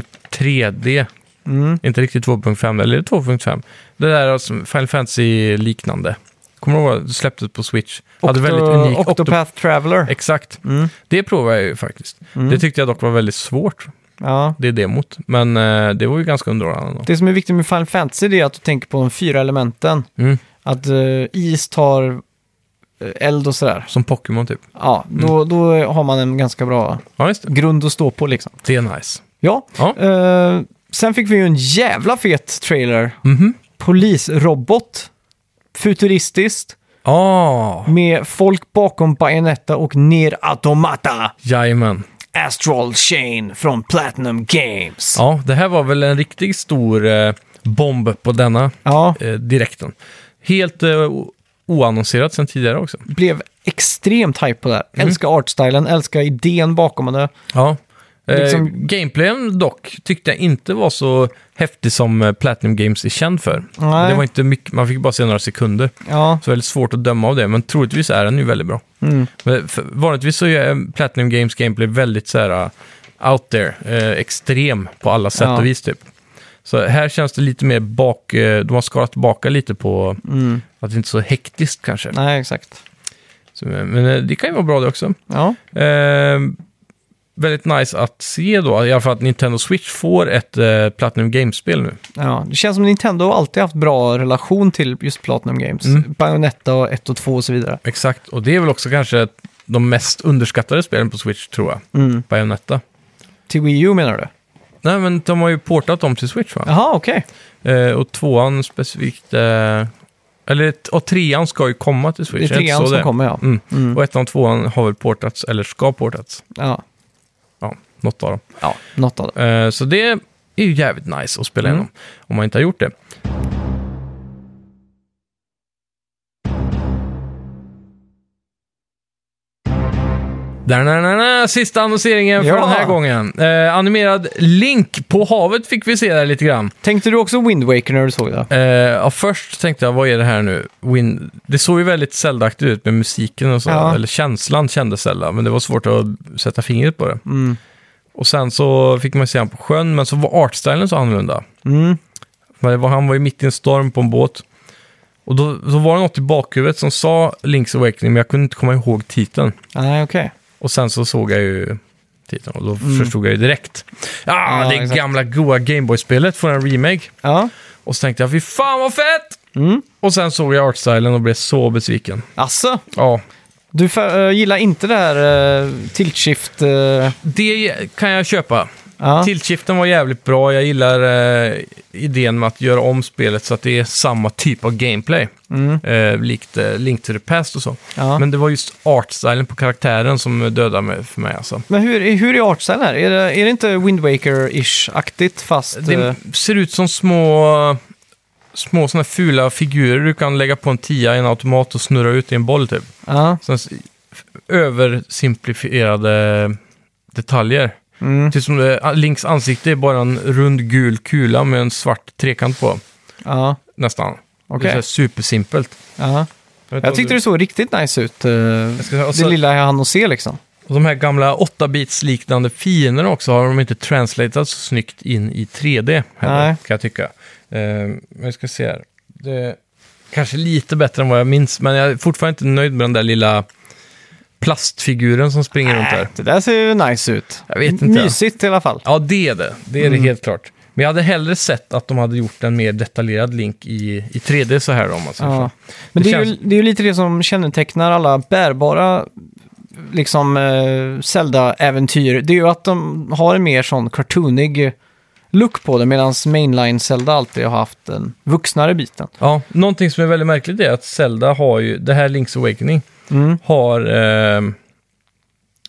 Speaker 2: 2.3D.
Speaker 1: Mm.
Speaker 2: Inte riktigt 2.5, eller är det 2.5? Det där äh, som Final Fantasy-liknande. Kommer du ihåg? Det släpptes på Switch. Hade
Speaker 1: Octo-
Speaker 2: väldigt unik Octo-
Speaker 1: Octopath Traveler.
Speaker 2: Exakt.
Speaker 1: Mm.
Speaker 2: Det provade jag ju faktiskt. Det tyckte jag dock var väldigt svårt,
Speaker 1: Ja.
Speaker 2: det demot. Men eh, det var ju ganska underhållande. Då.
Speaker 1: Det som är viktigt med Final Fantasy det är att du tänker på de fyra elementen.
Speaker 2: Mm.
Speaker 1: Att eh, is tar eh, eld och sådär.
Speaker 2: Som Pokémon typ.
Speaker 1: Ja, då, då har man en ganska bra
Speaker 2: Ja, just det.
Speaker 1: grund att stå på liksom.
Speaker 2: Det är nice.
Speaker 1: Ja,
Speaker 2: Ja.
Speaker 1: eh, sen fick vi ju en jävla fet trailer.
Speaker 2: Mhm.
Speaker 1: Polisrobot. Futuristiskt.
Speaker 2: Ah,
Speaker 1: Med folk bakom Bayonetta och Nier Automata.
Speaker 2: jajamän.
Speaker 1: Astral Chain från Platinum Games.
Speaker 2: Ja, det här var väl en riktigt stor eh, bomb på denna
Speaker 1: ja
Speaker 2: eh, direkten. Helt eh, o- oannonserat sen tidigare också.
Speaker 1: blev extremt hype på det här.
Speaker 2: Mhm.
Speaker 1: Älskar artstylen, älskar idén bakom det.
Speaker 2: Ja. Eh,
Speaker 1: Liksom-
Speaker 2: Gameplayen dock tyckte jag inte var så häftig som eh, Platinum Games är känd för.
Speaker 1: Nej.
Speaker 2: Det var inte mycket, man fick bara se några sekunder.
Speaker 1: Ja,
Speaker 2: Så väldigt svårt att döma av det, men troligtvis är den ju väldigt bra.
Speaker 1: Mm.
Speaker 2: Men för, vanligtvis så är eh, Platinum Games gameplay väldigt så här eh, out there, eh, extrem på alla sätt
Speaker 1: Ja.
Speaker 2: och vis typ. Så här känns det lite mer bak, eh, de har skalat tillbaka lite på att det inte är så hektiskt kanske.
Speaker 1: Mm. nej exakt.
Speaker 2: Så, eh, men eh, det kan ju vara bra det också.
Speaker 1: Ja,
Speaker 2: Eh, väldigt nice att se då, i alla fall att Nintendo Switch får ett eh, Platinum Games-spel nu.
Speaker 1: ja. Det känns som Nintendo har alltid haft bra relation till just Platinum Games. Bayonetta och 1 och 2 och så vidare.
Speaker 2: Exakt, och det är väl också kanske de mest underskattade spelen på Switch tror jag.
Speaker 1: Mm.
Speaker 2: Bayonetta.
Speaker 1: Till Wii U menar du?
Speaker 2: Nej, men de har ju portat dem till Switch va?
Speaker 1: Jaha, okej.
Speaker 2: Eh, och tvåan specifikt... Eh, eller, t- och trean ska ju komma till Switch.
Speaker 1: Det är
Speaker 2: jag inte
Speaker 1: trean
Speaker 2: så
Speaker 1: som kommer, ja.
Speaker 2: Mm.
Speaker 1: Mm.
Speaker 2: Och ettan och tvåan har väl portats, eller ska portats.
Speaker 1: Ja,
Speaker 2: Ja, något av dem.
Speaker 1: ja något av det.
Speaker 2: Eh, så det är ju jävligt nice att spela
Speaker 1: Mm.
Speaker 2: igenom, om man inte har gjort det. Da-na-na-na, sista annonseringen för
Speaker 1: Ja.
Speaker 2: den här gången. Eh, animerad Link på havet fick vi se där lite grann.
Speaker 1: Tänkte du också Wind Waker när du såg det?
Speaker 2: Eh, ja, först tänkte jag, vad är det här nu? Win... Det såg ju väldigt Zelda-aktigt ut med musiken och så.
Speaker 1: Ja.
Speaker 2: Eller känslan kändes Zelda, men det var svårt att sätta fingret på det.
Speaker 1: Mm.
Speaker 2: Och sen så fick man se han på sjön, men så var artstylen så annorlunda.
Speaker 1: Mm.
Speaker 2: Men det var- Han var ju mitt i en storm på en båt. Och då så var det något i bakhuvudet som sa Link's Awakening, men jag kunde inte komma ihåg titeln.
Speaker 1: Nej, okej.
Speaker 2: Och sen så såg jag ju titeln och då förstod jag ju direkt. Ah,
Speaker 1: Mm. Ja,
Speaker 2: det
Speaker 1: exakt.
Speaker 2: gamla goa Gameboy-spelet får en remake.
Speaker 1: Ja.
Speaker 2: Och så tänkte jag, fy fan vad fett!
Speaker 1: Mm.
Speaker 2: Och sen såg jag artstylen och blev så besviken.
Speaker 1: Asså,
Speaker 2: Ja,
Speaker 1: du fa- eh, gillar inte det här uh, tiltskift... eh,
Speaker 2: det kan jag köpa.
Speaker 1: ja.
Speaker 2: Tillskiften var jävligt bra. Jag gillar eh, idén med att göra om spelet så att det är samma typ av gameplay.
Speaker 1: Mm.
Speaker 2: Eh, likt eh, Link to the Past och så.
Speaker 1: Ja. Men,
Speaker 2: Men det var just artstylen på karaktären som dödade mig, för mig alltså.
Speaker 1: hur, hur är artstylen här? Är det, är det inte Wind Waker-ish-aktigt fast... eh,
Speaker 2: Det ser ut som små, små såna här fula figurer du kan lägga på en tia i en automat och snurra ut i en boll typ.
Speaker 1: ja.
Speaker 2: Sen s- översimplifierade detaljer.
Speaker 1: Mm.
Speaker 2: Typ som det, Links ansikte är bara en rund gul kula med en svart trekant på.
Speaker 1: Ja.
Speaker 2: Nästan. Det är så
Speaker 1: Okej.
Speaker 2: här supersimpelt.
Speaker 1: Ja. Jag tyckte det såg riktigt nice ut. eh,
Speaker 2: ska- och
Speaker 1: det
Speaker 2: så-
Speaker 1: lilla jag hann att se liksom.
Speaker 2: Och de här gamla 8-bits liknande fienderna också har de inte translatat så snyggt in i 3D heller,
Speaker 1: Nej.
Speaker 2: kan jag tycka. Ehm, Men jag ska se här. Det är kanske lite bättre än vad jag minns, men jag är fortfarande inte nöjd med den där lilla plastfiguren som springer runt där.
Speaker 1: Det där ser ju nice ut.
Speaker 2: Jag vet inte.
Speaker 1: Mysigt i alla fall.
Speaker 2: Ja, det är det. Det är
Speaker 1: Mm.
Speaker 2: det helt klart. Men jag hade hellre sett att de hade gjort en mer detaljerad link i, i 3D så här då, om man säger
Speaker 1: Ja.
Speaker 2: så.
Speaker 1: Men det,
Speaker 2: Det
Speaker 1: är ju,
Speaker 2: känns-
Speaker 1: det är ju lite det som kännetecknar alla bärbara liksom eh, Zelda-äventyr. Det är ju att de har en mer sån cartoonig look på det medan mainline Zelda alltid har haft den vuxnare biten.
Speaker 2: Ja, någonting som är väldigt märkligt är att Zelda har ju, det här Link's Awakening,
Speaker 1: Mm.
Speaker 2: har, ehm,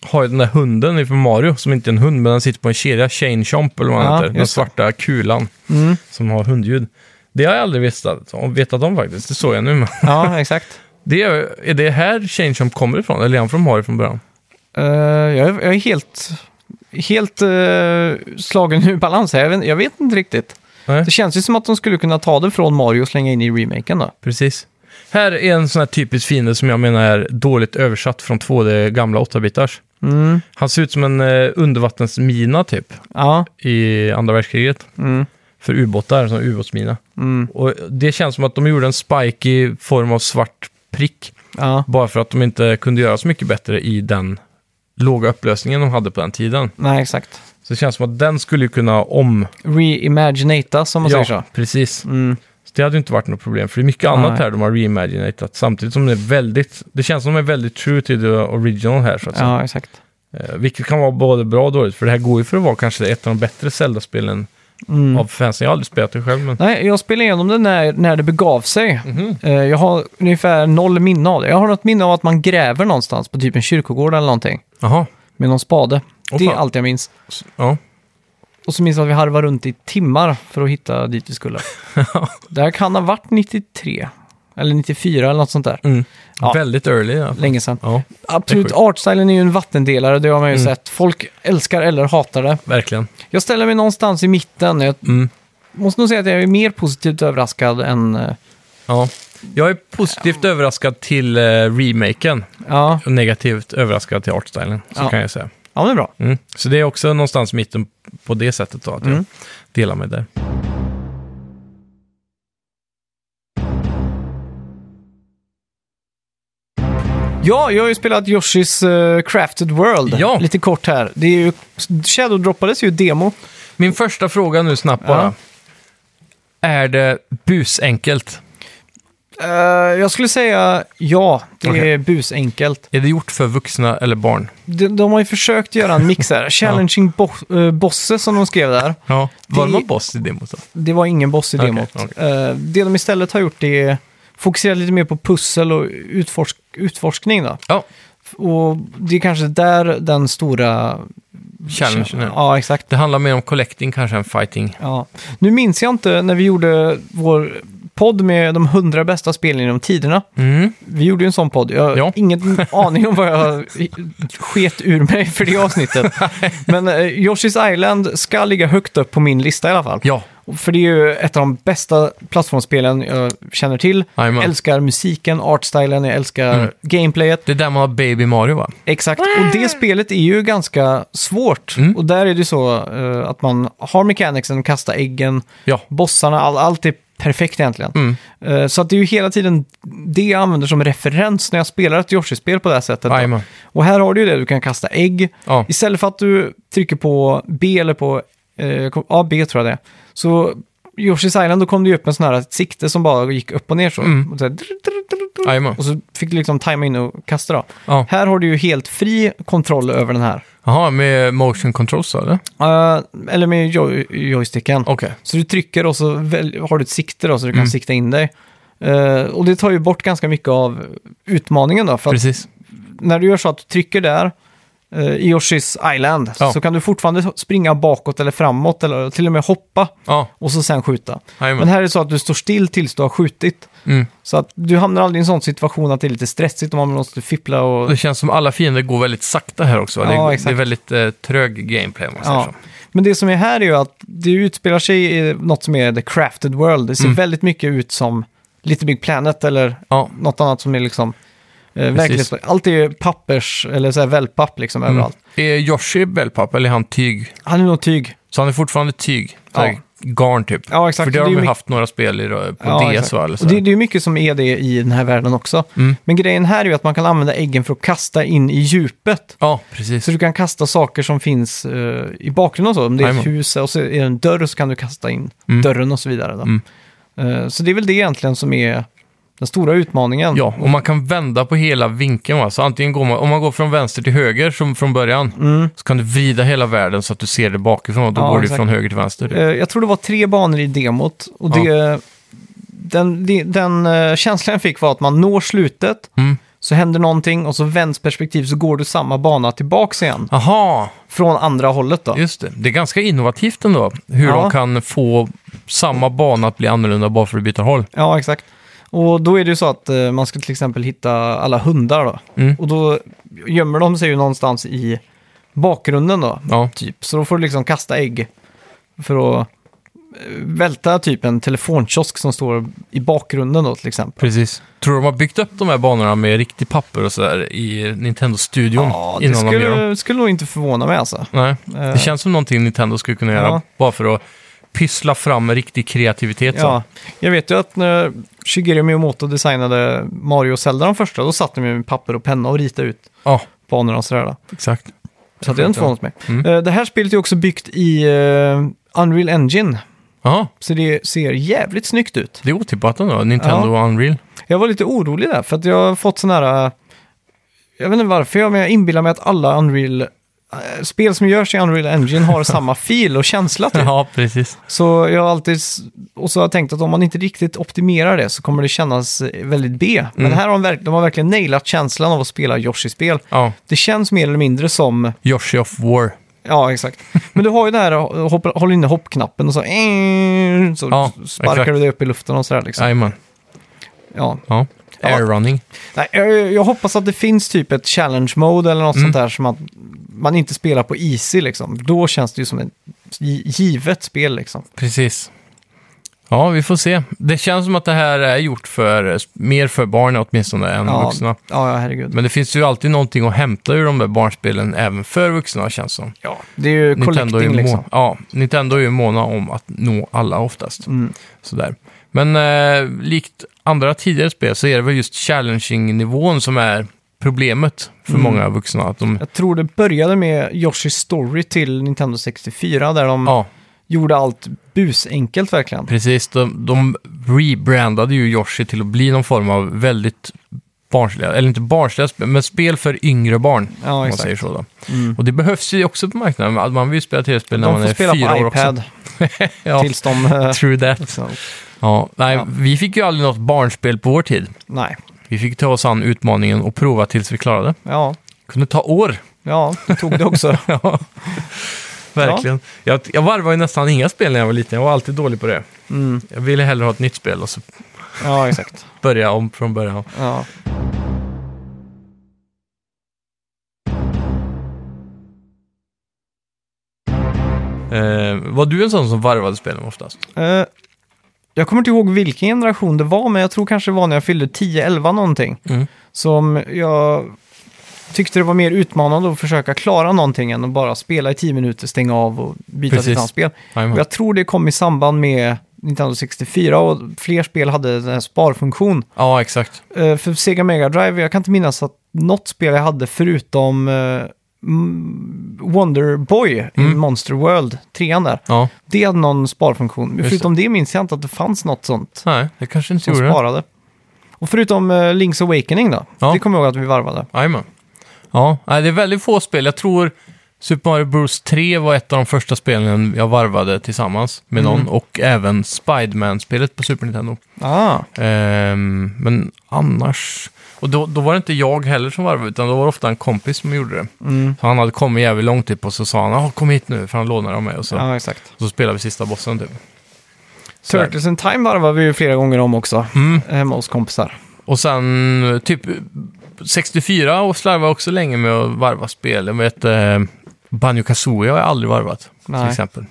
Speaker 2: har ju den där hunden ifrån Mario, som inte är en hund, men den sitter på en kedja, Chain Chomp eller vad
Speaker 1: Ja,
Speaker 2: han heter. Den
Speaker 1: just det.
Speaker 2: svarta kulan
Speaker 1: Mm.
Speaker 2: som har hundljud. Det har jag aldrig vetat, om- vetat om faktiskt, det såg jag nu. men
Speaker 1: Ja, exakt.
Speaker 2: Det är, är det här Chain Chomp kommer ifrån, eller är han från Mario från början?
Speaker 1: Eh, jag, är, jag är helt, helt eh, slagen ur balans här. Jag vet, jag vet inte riktigt.
Speaker 2: Nej.
Speaker 1: Det känns ju som att de skulle kunna ta det från Mario och slänga in i remaken då.
Speaker 2: Precis. Här är en sån här typisk fiende som jag menar är dåligt översatt från 2D gamla 8-bitars.
Speaker 1: Mm.
Speaker 2: Han ser ut som en eh, undervattensmina typ
Speaker 1: Ja.
Speaker 2: i andra världskriget.
Speaker 1: Mm.
Speaker 2: För ubåtar, som ubåtsmina.
Speaker 1: Mm.
Speaker 2: Och det känns som att de gjorde en spike i form av svart prick.
Speaker 1: Ja.
Speaker 2: Bara för att de inte kunde göra så mycket bättre i den låga upplösningen de hade på den tiden.
Speaker 1: Nej, exakt.
Speaker 2: Så det känns som att den skulle ju kunna om...
Speaker 1: Reimaginata, som man säger så.
Speaker 2: precis.
Speaker 1: Mm.
Speaker 2: Så det hade ju inte varit något problem, för det är mycket annat
Speaker 1: Nej.
Speaker 2: här de har reimaginat. Samtidigt som det är väldigt, det känns som de är väldigt true till the original här. Så att säga.
Speaker 1: Ja, exakt.
Speaker 2: Eh, Vilket kan vara både bra och dåligt, för det här går ju för att vara kanske ett av de bättre Zelda-spelen
Speaker 1: Mm.
Speaker 2: av fansen. Jag har aldrig spelat det själv, men...
Speaker 1: Nej, jag spelade igenom det när, när det begav sig.
Speaker 2: Mhm.
Speaker 1: Eh, Jag har ungefär noll minne av det. Jag har något minne av att man gräver någonstans på typ en kyrkogård eller någonting.
Speaker 2: Jaha,
Speaker 1: Med någon spade.
Speaker 2: Åh,
Speaker 1: det är
Speaker 2: fan.
Speaker 1: allt jag minns.
Speaker 2: ja.
Speaker 1: Och så minns jag att vi harvade runt i timmar för att hitta dit vi skulle. det här kan ha varit 93. Eller 94 eller något sånt där.
Speaker 2: Mm.
Speaker 1: Ja.
Speaker 2: Väldigt early, ja.
Speaker 1: Länge sedan.
Speaker 2: ja.
Speaker 1: Absolut,
Speaker 2: sjukt. Mm.
Speaker 1: artstylen är ju en vattendelare, det har man ju sett. Folk älskar eller hatar det.
Speaker 2: Verkligen.
Speaker 1: Jag ställer mig någonstans i mitten. Jag
Speaker 2: Mm.
Speaker 1: måste nog säga att jag är mer positivt överraskad än... eh,
Speaker 2: Ja. Jag är positivt överraskad till eh, remaken
Speaker 1: Ja,
Speaker 2: och negativt överraskad till artstylen, så
Speaker 1: Ja.
Speaker 2: kan jag säga.
Speaker 1: ja men det är bra.
Speaker 2: Mm. Så det är också någonstans i mitten på det sättet då, att jag
Speaker 1: Mm.
Speaker 2: delar med det.
Speaker 1: Ja, jag har ju spelat Yoshis eh, Crafted World
Speaker 2: Ja.
Speaker 1: lite kort här. Det är ju, Shadow droppades ju i demo.
Speaker 2: Min första fråga nu snabbt bara.
Speaker 1: Ja.
Speaker 2: Är det busenkelt?
Speaker 1: Eh, jag skulle säga ja, det är
Speaker 2: Okej.
Speaker 1: busenkelt.
Speaker 2: Är det gjort för vuxna eller barn?
Speaker 1: De, de har ju försökt göra en mix här. Challenging bo- eh, Bosses som de skrev där.
Speaker 2: Ja. Var det
Speaker 1: Det-
Speaker 2: någon boss i demot då?
Speaker 1: Det var ingen boss i
Speaker 2: Okej,
Speaker 1: demot.
Speaker 2: okej.
Speaker 1: Eh, det de istället har gjort är fokusera lite mer på pussel och utforsk- utforskning. Då.
Speaker 2: Ja,
Speaker 1: Och det är kanske där den stora...
Speaker 2: challengen. är.
Speaker 1: Ja, exakt.
Speaker 2: Det handlar mer om collecting kanske än fighting.
Speaker 1: Ja. Nu minns jag inte när vi gjorde vår podd med de hundra bästa spelen genom tiderna. Vi gjorde ju en sån podd. Jag har
Speaker 2: Ja.
Speaker 1: ingen aning om vad jag sket ur mig för det avsnittet. Men eh, Yoshi's Island ska ligga högt upp på min lista i alla fall.
Speaker 2: Ja,
Speaker 1: För det är ju ett av de bästa plattformsspelen jag känner till.
Speaker 2: Jajamän.
Speaker 1: Jag älskar musiken, artstylen, jag älskar
Speaker 2: Mm.
Speaker 1: gameplayet.
Speaker 2: det är där man har Baby Mario va?
Speaker 1: Exakt, och det spelet är ju ganska svårt.
Speaker 2: Mm.
Speaker 1: Och där är det ju så eh, att man har mechanicsen, kasta äggen,
Speaker 2: Ja,
Speaker 1: bossarna, all, allt är perfekt egentligen.
Speaker 2: Mm.
Speaker 1: Eh, så att det är ju hela tiden det jag använder som referens när jag spelar ett Yoshi-spel på det här sättet. då.
Speaker 2: Jajamän.
Speaker 1: Och här har du ju det, du kan kasta ägg.
Speaker 2: Ja.
Speaker 1: Istället för att du trycker på B eller på eh, kom- ja, B tror jag det är, så Yoshi's Island, då kom det ju upp en sån här ett sikte som bara gick upp och ner så. Och, så här, drr, drr, drr, drr.
Speaker 2: Mm. Jajamän.
Speaker 1: och så fick du liksom tajma in och kasta då.
Speaker 2: Ja.
Speaker 1: Här har du ju helt fri kontroll över den här.
Speaker 2: Jaha, med motion controls så, eller?
Speaker 1: Eh, eller med joy- joysticken.
Speaker 2: Okej.
Speaker 1: Så du trycker och så väl, har du ett sikte då, så du
Speaker 2: Mm.
Speaker 1: kan sikta in dig. Eh, och det tar ju bort ganska mycket av utmaningen då. För att
Speaker 2: Precis.
Speaker 1: när du gör så att du trycker där eh, i Yoshi's Island
Speaker 2: Ja.
Speaker 1: så kan du fortfarande springa bakåt eller framåt eller till och med hoppa
Speaker 2: Ja,
Speaker 1: och så sen skjuta. Men
Speaker 2: jajamän.
Speaker 1: här är det så att du står still tills du har skjutit.
Speaker 2: Mm.
Speaker 1: Så att du hamnar aldrig i en sån situation att det är lite stressigt om man måste fippla och...
Speaker 2: Det känns som alla fiender går väldigt sakta här också.
Speaker 1: Ja,
Speaker 2: det,
Speaker 1: exakt.
Speaker 2: det är väldigt eh, trög gameplay om man säger
Speaker 1: Ja.
Speaker 2: så.
Speaker 1: Men det som är här är ju att det utspelar sig i något som är The Crafted World. Det ser
Speaker 2: Mm.
Speaker 1: väldigt mycket ut som Little Big Planet eller
Speaker 2: Ja,
Speaker 1: något annat som är liksom eh, verklighets- Allt är ju pappers eller så här wellpapp liksom
Speaker 2: Mm.
Speaker 1: överallt.
Speaker 2: Är Yoshi wellpapp eller är han tyg?
Speaker 1: Han är nog tyg.
Speaker 2: Så han är fortfarande tyg? Så
Speaker 1: Ja.
Speaker 2: här Garn typ?
Speaker 1: Ja, exakt.
Speaker 2: För det
Speaker 1: Det är
Speaker 2: har de
Speaker 1: ju
Speaker 2: ju
Speaker 1: mycket-
Speaker 2: haft några spel i, rö- på
Speaker 1: Ja, exakt.
Speaker 2: DS va? Eller så.
Speaker 1: Och
Speaker 2: Mm.
Speaker 1: det, det är ju mycket som är det i den här världen också. Men grejen här är ju att man kan använda äggen för att kasta in i djupet.
Speaker 2: Ja, precis.
Speaker 1: Så du kan kasta saker som finns eh, i bakgrunden och så. Om det är ett
Speaker 2: Jajamän. Mm.
Speaker 1: hus och så är det en dörr så kan du kasta in dörren och så vidare. Då. Eh, så det är väl det egentligen som är den stora utmaningen.
Speaker 2: Ja, och man kan vända på hela vinkeln. Va? Så antingen går man, om man går från vänster till höger som från början, så kan du vrida hela världen så att du ser det bakifrån och då
Speaker 1: Mm. Ja,
Speaker 2: går du
Speaker 1: exakt.
Speaker 2: från höger till vänster. typ.
Speaker 1: Eh, jag tror det var tre banor i demot. Och det, den, det- den eh, känslan jag fick var att man når slutet,
Speaker 2: Mm.
Speaker 1: så händer någonting och så vänds perspektiv så går du samma bana tillbaks igen.
Speaker 2: Aha,
Speaker 1: Från andra hållet då.
Speaker 2: just det. Det är ganska innovativt ändå, hur
Speaker 1: Ja.
Speaker 2: de kan få samma bana att bli annorlunda bara för att byta håll.
Speaker 1: Ja, exakt. Och då är det ju så att eh, man ska till exempel hitta alla hundar då.
Speaker 2: Mm.
Speaker 1: Och då gömmer de sig ju någonstans i bakgrunden då.
Speaker 2: Ja,
Speaker 1: Typ. Så då får du liksom kasta ägg för att eh, välta typ en telefonkiosk som står i bakgrunden då till exempel.
Speaker 2: precis. Tror du de har byggt upp de här banorna med riktigt papper och sådär i Nintendo-studion
Speaker 1: Ja, det
Speaker 2: innan de gör dem?
Speaker 1: skulle, skulle nog inte förvåna mig alltså.
Speaker 2: Nej,
Speaker 1: Eh.
Speaker 2: det känns som någonting Nintendo skulle kunna göra
Speaker 1: Ja.
Speaker 2: bara för att pyssla fram med riktig kreativitet. så.
Speaker 1: Ja, jag vet ju att när Shigeru Miyamoto designade Mario och Zelda de första, då satt de ju med papper och penna och ritade ut
Speaker 2: ja
Speaker 1: banorna och sådär. Då.
Speaker 2: exakt.
Speaker 1: Så att det är inte förvånat mig.
Speaker 2: Mm.
Speaker 1: Eh, Det här spelet är också byggt i eh, Unreal Engine,
Speaker 2: Jaha.
Speaker 1: så det ser jävligt snyggt ut.
Speaker 2: Det är otippat ändå, Nintendo och Unreal.
Speaker 1: Jag var lite orolig där, för att jag har fått sådana här... eh, Jag vet inte varför, jag- men jag inbillar mig att alla Unreal... eh, Spel som görs i Unreal Engine har samma fil och känsla typ.
Speaker 2: Ja, precis.
Speaker 1: Så jag har alltid... s- Och så har jag tänkt att om man inte riktigt optimerar det så kommer det kännas eh, väldigt B. Men
Speaker 2: Mm.
Speaker 1: här har de, verk- de har verkligen nailat känslan av att spela Yoshi-spel.
Speaker 2: Ja,
Speaker 1: Det känns mer eller mindre som...
Speaker 2: Yoshi of War.
Speaker 1: Ja, exakt. Men du har ju det här, eh, hoppa, håll inne hoppknappen och så... eh, Så
Speaker 2: Ja,
Speaker 1: sparkar
Speaker 2: exakt.
Speaker 1: du dig upp i luften och sådär liksom.
Speaker 2: Jajamän.
Speaker 1: Ja.
Speaker 2: Ja.
Speaker 1: Ja.
Speaker 2: Airrunning.
Speaker 1: Nej, jag, jag hoppas att det finns typ ett challenge mode eller
Speaker 2: Mm.
Speaker 1: något sånt där som att man inte spelar på easy liksom. Då känns det ju som ett gi- givet spel liksom.
Speaker 2: Precis. Ja, vi får se. Det känns som att det här är gjort för, mer för barn åtminstone än vuxna.
Speaker 1: ja, ja, herregud.
Speaker 2: Men det finns ju alltid någonting att hämta ur de där barnspelen, även för vuxna känns det som.
Speaker 1: Ja, det är ju
Speaker 2: Nintendo är,
Speaker 1: collecting
Speaker 2: ju må-
Speaker 1: liksom.
Speaker 2: ja, Nintendo är ju måna om att nå alla oftast.
Speaker 1: Mm.
Speaker 2: Sådär. Men eh, likt andra tidigare spel så är det väl just challenging-nivån som är problemet för många vuxna. Att de,
Speaker 1: Mm. Jag tror det började med Yoshi's Story till Nintendo 64 där de
Speaker 2: ja,
Speaker 1: gjorde allt busenkelt verkligen.
Speaker 2: precis. De, de rebrandade ju Yoshi till att bli någon form av väldigt barnsliga, eller inte barnsliga spel, men spel för yngre barn. om man
Speaker 1: exakt. Mm.
Speaker 2: säger så då. Och det behövs ju också på marknaden. Man vill ju spela tv-spel när
Speaker 1: De
Speaker 2: man
Speaker 1: får
Speaker 2: är
Speaker 1: spela
Speaker 2: fyra
Speaker 1: på
Speaker 2: år också.
Speaker 1: iPad
Speaker 2: Ja,
Speaker 1: tills de... eh,
Speaker 2: true that.
Speaker 1: så,
Speaker 2: Ja, nej,
Speaker 1: Ja.
Speaker 2: vi fick ju aldrig något barnspel på vår tid.
Speaker 1: nej,
Speaker 2: Vi fick ta oss an utmaningen och prova tills vi klarade. det.
Speaker 1: ja,
Speaker 2: kunde ta år.
Speaker 1: ja, det tog det också.
Speaker 2: Ja, Verkligen.
Speaker 1: Mm.
Speaker 2: Jag, jag varvade ju nästan inga spel när jag var liten. Jag var alltid dålig på det. Jag ville hellre ha ett nytt spel och så
Speaker 1: Ja, exakt.
Speaker 2: Börja om från början.
Speaker 1: Ja.
Speaker 2: Eh, var du en sån som varvade spelen oftast?
Speaker 1: Eh, jag kommer inte ihåg vilken generation det var, men jag tror kanske det var när jag fyllde 10-11 någonting.
Speaker 2: Mm.
Speaker 1: Som jag tyckte det var mer utmanande att försöka klara någonting än att bara spela i 10 minuter, stänga av och byta till
Speaker 2: Precis. Mm.
Speaker 1: ett annat spel. Och
Speaker 2: Jajamän.
Speaker 1: jag tror det kom i samband med Nintendo 64 och fler spel hade den här sparfunktion.
Speaker 2: Ja, exakt.
Speaker 1: Eh, för Sega Mega Drive, jag kan inte minnas att något spel jag hade förutom eh, M- Wonder Boy i
Speaker 2: Mm.
Speaker 1: Monster World, trean där.
Speaker 2: Ja,
Speaker 1: Det hade någon sparfunktion. Men
Speaker 2: Just
Speaker 1: förutom det minns jag inte att det fanns något sånt
Speaker 2: nej, det kanske inte
Speaker 1: som
Speaker 2: gjorde det.
Speaker 1: sparade. Och förutom eh, Link's Awakening då.
Speaker 2: Ja.
Speaker 1: Det kommer jag ihåg att vi varvade.
Speaker 2: Jajamän. Ja, nej, det är väldigt få spel. Jag tror Super Mario Bros 3 var ett av de första spelen jag varvade tillsammans med någon. Och även Spiderman-spelet på Super Nintendo.
Speaker 1: Ah,
Speaker 2: Ehm, men annars... Och då, då var det inte jag heller som varvade, utan då var det ofta en kompis som gjorde det. Så han hade kommit jävligt långt typ och så sa han "Ah, kom hit nu” för han lånade dem med och så,
Speaker 1: ja, exakt.
Speaker 2: och så spelade vi sista bossen typ. Så där.
Speaker 1: Turtles in Time varvade vi ju flera gånger om också. eh,
Speaker 2: Mm.
Speaker 1: Hemma hos kompisar.
Speaker 2: Och sen typ 64 och slarvade också länge med att varva spel. Jag vet, eh, Banjo Kazooie har jag aldrig varvat till
Speaker 1: Nej.
Speaker 2: exempel.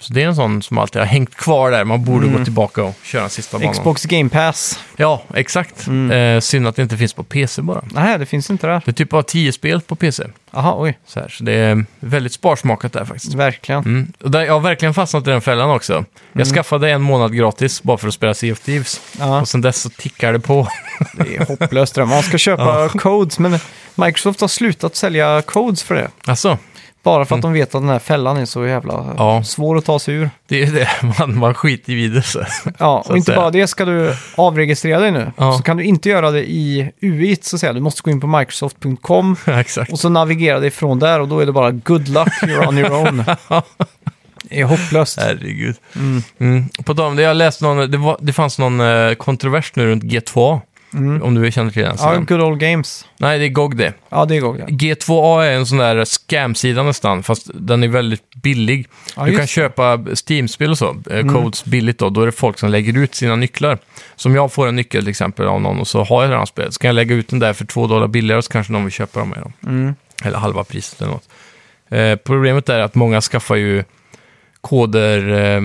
Speaker 2: Så det är en sån som alltid har hängt kvar där. Man borde
Speaker 1: Mm.
Speaker 2: gå tillbaka och köra den sista banan.
Speaker 1: Xbox Game Pass.
Speaker 2: Ja, exakt.
Speaker 1: Mm.
Speaker 2: Eh, synd att det inte finns på PC bara.
Speaker 1: Nej, det finns inte där.
Speaker 2: Det är typ bara 10 spel på PC.
Speaker 1: Aha, oj.
Speaker 2: Så, här, så det är väldigt sparsmakat där faktiskt.
Speaker 1: Verkligen.
Speaker 2: Mm. Och där, jag har verkligen fastnat i den fällan också. Jag skaffade en månad gratis bara för att spela Sea of Thieves.
Speaker 1: Mm. Ja.
Speaker 2: Och sen dess så tickar det på.
Speaker 1: Det är hopplöst det där. Man ska köpa codes, men Microsoft har slutat sälja codes för det.
Speaker 2: alltså,
Speaker 1: Bara för att de vet att den här fällan är så jävla
Speaker 2: Ja.
Speaker 1: svår att ta sig ur.
Speaker 2: det är ju det. Man, man skiter i vidare. så.
Speaker 1: Ja,
Speaker 2: att
Speaker 1: och inte
Speaker 2: säga.
Speaker 1: bara det ska du avregistrera dig nu.
Speaker 2: Ja.
Speaker 1: Så kan du inte göra det i UIT, så att säga. Du måste gå in på microsoft.com
Speaker 2: Ja, exakt.
Speaker 1: och så navigera dig från där och då är det bara good luck, you're on your own. Det är hopplöst.
Speaker 2: Herregud. Mm. På tal om det, jag läste någon, det, var, det fanns någon eh, kontrovers nu runt G2A. Om du känner till den.
Speaker 1: Mm. Ja,
Speaker 2: sidan.
Speaker 1: good old games.
Speaker 2: Nej, det är GOG det.
Speaker 1: Ja, det går. Ja.
Speaker 2: G2A är en sån där scam-sida nästan, fast den är väldigt billig.
Speaker 1: Ja,
Speaker 2: du
Speaker 1: just
Speaker 2: kan
Speaker 1: det.
Speaker 2: köpa Steam-spel och så, mm. codes billigt då. Då är det folk som lägger ut sina nycklar. Som jag får en nyckel till exempel av någon och så har jag det här spelet. Så kan jag lägga ut den där för två dollar billigare så kanske någon vill köpa dem med dem.
Speaker 1: Mm.
Speaker 2: Eller halva priset eller något. Eh, problemet är att många skaffar ju koder eh,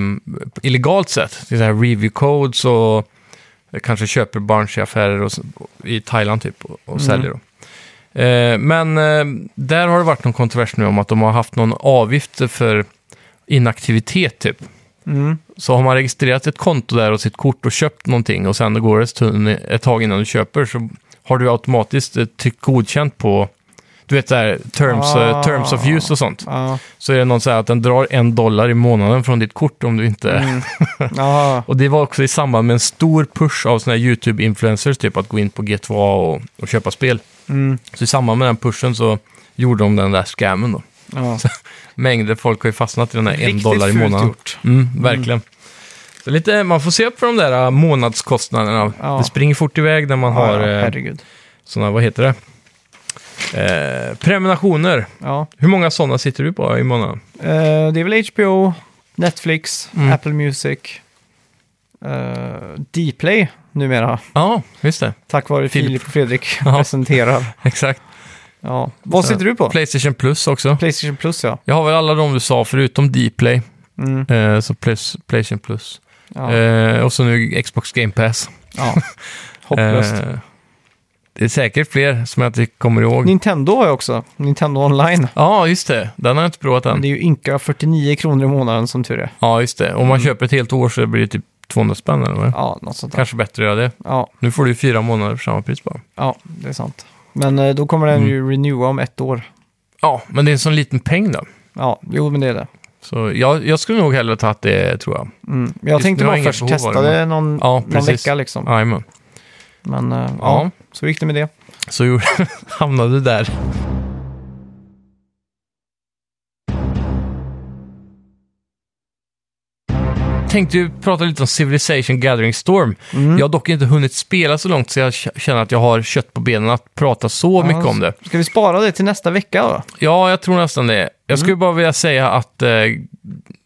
Speaker 2: illegalt sett. Det är så här review codes och kanske köper barns i affärer och, s- i Thailand typ och, och säljer dem. Eh, men eh, där har det varit någon kontrovers nu om att de har haft någon avgift för inaktivitet typ.
Speaker 1: Mm.
Speaker 2: Så har man registrerat ett konto där och sitt kort och köpt någonting och sen går det ett, stund, ett tag innan du köper så har du automatiskt eh, tryckt godkänt på du vet där, terms, eh,
Speaker 1: Ah.
Speaker 2: terms of use och sånt.
Speaker 1: Ja,
Speaker 2: Så är det någon så här att den drar en dollar i månaden från ditt kort om du inte...
Speaker 1: Mm. ja.
Speaker 2: Och det var också i samband med en stor push av såna här YouTube-influencers, typ att gå in på G2A och, och köpa spel.
Speaker 1: Mm.
Speaker 2: Så i samband med den pushen så gjorde de den där scammen då.
Speaker 1: ja.
Speaker 2: Mängder folk har ju fastnat i den där en
Speaker 1: Riktigt
Speaker 2: dollar i
Speaker 1: fult
Speaker 2: månaden.
Speaker 1: gjort.
Speaker 2: Mm, verkligen. Så lite, man får se upp för de där äh, månadskostnaderna.
Speaker 1: Ja.
Speaker 2: Det springer fort iväg när man
Speaker 1: ja,
Speaker 2: har eh,
Speaker 1: herregud.
Speaker 2: såna, vad heter det? Eh, prenumerationer.
Speaker 1: Ja.
Speaker 2: Hur många sådana sitter du på i månaden?
Speaker 1: Eh, det är väl HBO, Netflix,
Speaker 2: Mm.
Speaker 1: Apple Music, uh, Dplay numera,
Speaker 2: Ja, just det.
Speaker 1: tack vare
Speaker 2: Filip.
Speaker 1: Filip och Fredrik
Speaker 2: Ja.
Speaker 1: presenterar.
Speaker 2: Exakt.
Speaker 1: Ja. Vad
Speaker 2: Så-
Speaker 1: sitter du på?
Speaker 2: Playstation Plus också.
Speaker 1: Playstation Plus ja.
Speaker 2: Jag har väl alla de du sa förutom Dplay.
Speaker 1: Mm.
Speaker 2: Eh, så plus, Playstation Plus.
Speaker 1: ja.
Speaker 2: Eh, och så nu Xbox Game Pass.
Speaker 1: ja. Hopplöst.
Speaker 2: Eh, det är säkert fler som jag inte kommer ihåg.
Speaker 1: Nintendo har jag också, Nintendo Online.
Speaker 2: Ja, just det. Den har jag inte provat än.
Speaker 1: Det är ju ynka 49 kronor i månaden som tur är.
Speaker 2: Ja, just det. Om man köper ett helt år så blir det typ 200 spänn eller vad? det är.
Speaker 1: Mm. Ja, något sånt där.
Speaker 2: Kanske bättre att göra det.
Speaker 1: Ja,
Speaker 2: Nu får du ju fyra månader för samma pris bara.
Speaker 1: ja, det är sant. Men eh, då kommer den
Speaker 2: Mm.
Speaker 1: ju renewa om ett år.
Speaker 2: Ja, men det är en sån liten peng då.
Speaker 1: Ja, jo men det är det.
Speaker 2: Så jag, jag skulle nog hellre tagit det, tror jag.
Speaker 1: Mm. Men jag
Speaker 2: Just
Speaker 1: tänkte
Speaker 2: nu har
Speaker 1: bara
Speaker 2: jag inget
Speaker 1: först
Speaker 2: behov av
Speaker 1: testa
Speaker 2: det,
Speaker 1: det någon,
Speaker 2: Ja,
Speaker 1: någon
Speaker 2: precis.
Speaker 1: vecka liksom.
Speaker 2: Jajamän.
Speaker 1: Men eh,
Speaker 2: Ja.
Speaker 1: ja, så gick det med det.
Speaker 2: Så gjorde, hamnade du där. Tänkte ju prata lite om Civilization Gathering Storm. Mm.
Speaker 1: Mm.
Speaker 2: Jag har dock inte hunnit spela så långt så jag k- känner att jag har kött på benen att prata så mycket om det.
Speaker 1: Ska vi spara det till nästa vecka då?
Speaker 2: Ja, jag tror nästan det. Jag skulle bara vilja säga att eh,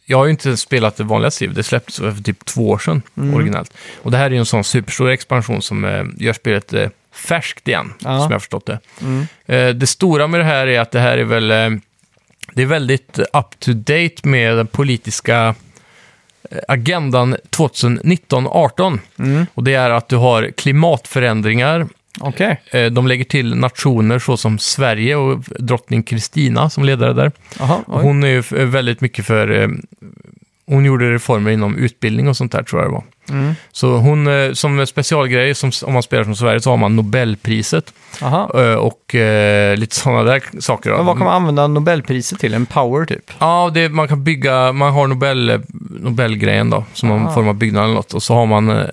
Speaker 2: jag har ju inte spelat det vanliga Civ, det släpptes för typ två år sedan originellt. Och det här är ju en sån superstor expansion som eh, gör spelet eh, färskt igen,
Speaker 1: Ja.
Speaker 2: som jag har förstått det. Eh, det stora med det här är att det här är väl... Eh, det är väldigt up to date med den politiska eh, agendan 2019-18. Och det är att du har klimatförändringar,
Speaker 1: Okej.
Speaker 2: Eh, De lägger till nationer såsom Sverige och drottning Kristina som ledare där.
Speaker 1: Jaha,
Speaker 2: Och
Speaker 1: oj.
Speaker 2: hon är ju f- väldigt mycket för... eh, Hon gjorde reformer inom utbildning och sånt där tror jag det var.
Speaker 1: Mm.
Speaker 2: Så hon, eh, som specialgrej, som, s- om man spelar som Sverige så har man Nobelpriset
Speaker 1: Aha.
Speaker 2: eh, och eh, lite sådana där k- saker. då.
Speaker 1: Men vad kan man använda Nobelpriset till? En power typ?
Speaker 2: Ja, det, man kan bygga, man har Nobel, eh, Nobelgrejen då, som
Speaker 1: Ah.
Speaker 2: någon form av byggnad eller något. Och så har man eh,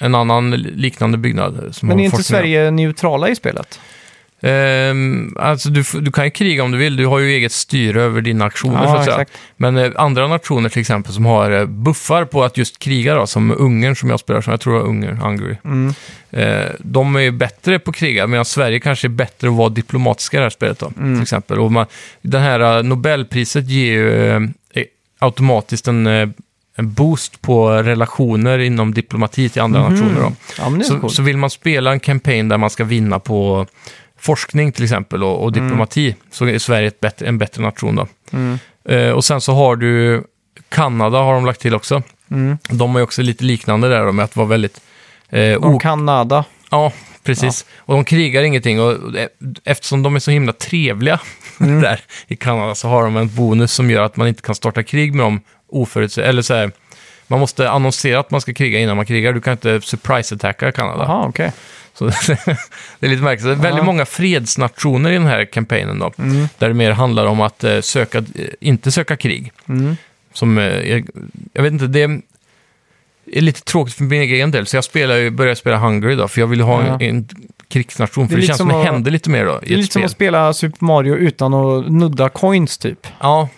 Speaker 2: en annan liknande byggnad. eh, Som
Speaker 1: Men
Speaker 2: har
Speaker 1: är inte
Speaker 2: forskning.
Speaker 1: Sverige neutrala i spelet?
Speaker 2: Ehm, alltså du, f- du kan ju kriga om du vill, du har ju eget styre över dina aktioner
Speaker 1: Ja,
Speaker 2: så att säga.
Speaker 1: exakt.
Speaker 2: Men eh, andra nationer till exempel som har eh, buffar på att just kriga då, som Ungern som jag spelar som, jag tror det var Ungern, Hungary.
Speaker 1: Mm.
Speaker 2: Eh, de är ju bättre på att kriga, medan Sverige kanske är bättre att vara diplomatiska i det här spelet då,
Speaker 1: Mm.
Speaker 2: till exempel. Och man, den här eh, Nobelpriset ger ju eh, eh, automatiskt en, eh, en boost på relationer inom diplomati till
Speaker 1: Mhm.
Speaker 2: andra nationer då.
Speaker 1: Mm. Ja, men det är
Speaker 2: Så,
Speaker 1: coolt.
Speaker 2: så vill man spela en campaign där man ska vinna på forskning till exempel och, och diplomati så är Sverige ett bättre, en bättre nation då.
Speaker 1: Mm.
Speaker 2: Eh, och sen så har du Kanada har de lagt till också.
Speaker 1: Mm.
Speaker 2: De är också lite liknande där då, med att vara väldigt... Eh,
Speaker 1: Och
Speaker 2: ok-
Speaker 1: Kanada.
Speaker 2: ja, precis. Och de krigar ingenting och, och e- eftersom de är så himla trevliga
Speaker 1: Mm.
Speaker 2: där i Kanada så har de en bonus som gör att man inte kan starta krig med dem oförutse... Eller så här, man måste annonsera att man ska kriga innan man krigar. Du kan inte surprise-attacka Kanada.
Speaker 1: Jaha, okej.
Speaker 2: Så det är lite märkligt. Det är väldigt många fredsnationer i den här kampanjen då.
Speaker 1: Mm.
Speaker 2: Där det mer handlar om att eh, söka, eh, inte söka krig.
Speaker 1: Mm.
Speaker 2: Som, eh, jag, jag vet inte, det är lite tråkigt för min egen del. Så jag spelar, ju- började spela Hungary då, för jag vill ha en,
Speaker 1: Ja.
Speaker 2: en krigsnation.
Speaker 1: Det
Speaker 2: För
Speaker 1: är
Speaker 2: det,
Speaker 1: lite
Speaker 2: känns
Speaker 1: som
Speaker 2: som det
Speaker 1: att-
Speaker 2: händer lite mer då
Speaker 1: Det
Speaker 2: i
Speaker 1: är
Speaker 2: ett
Speaker 1: lite som
Speaker 2: spel.
Speaker 1: att spela Super Mario utan att nudda coins typ.
Speaker 2: Ja.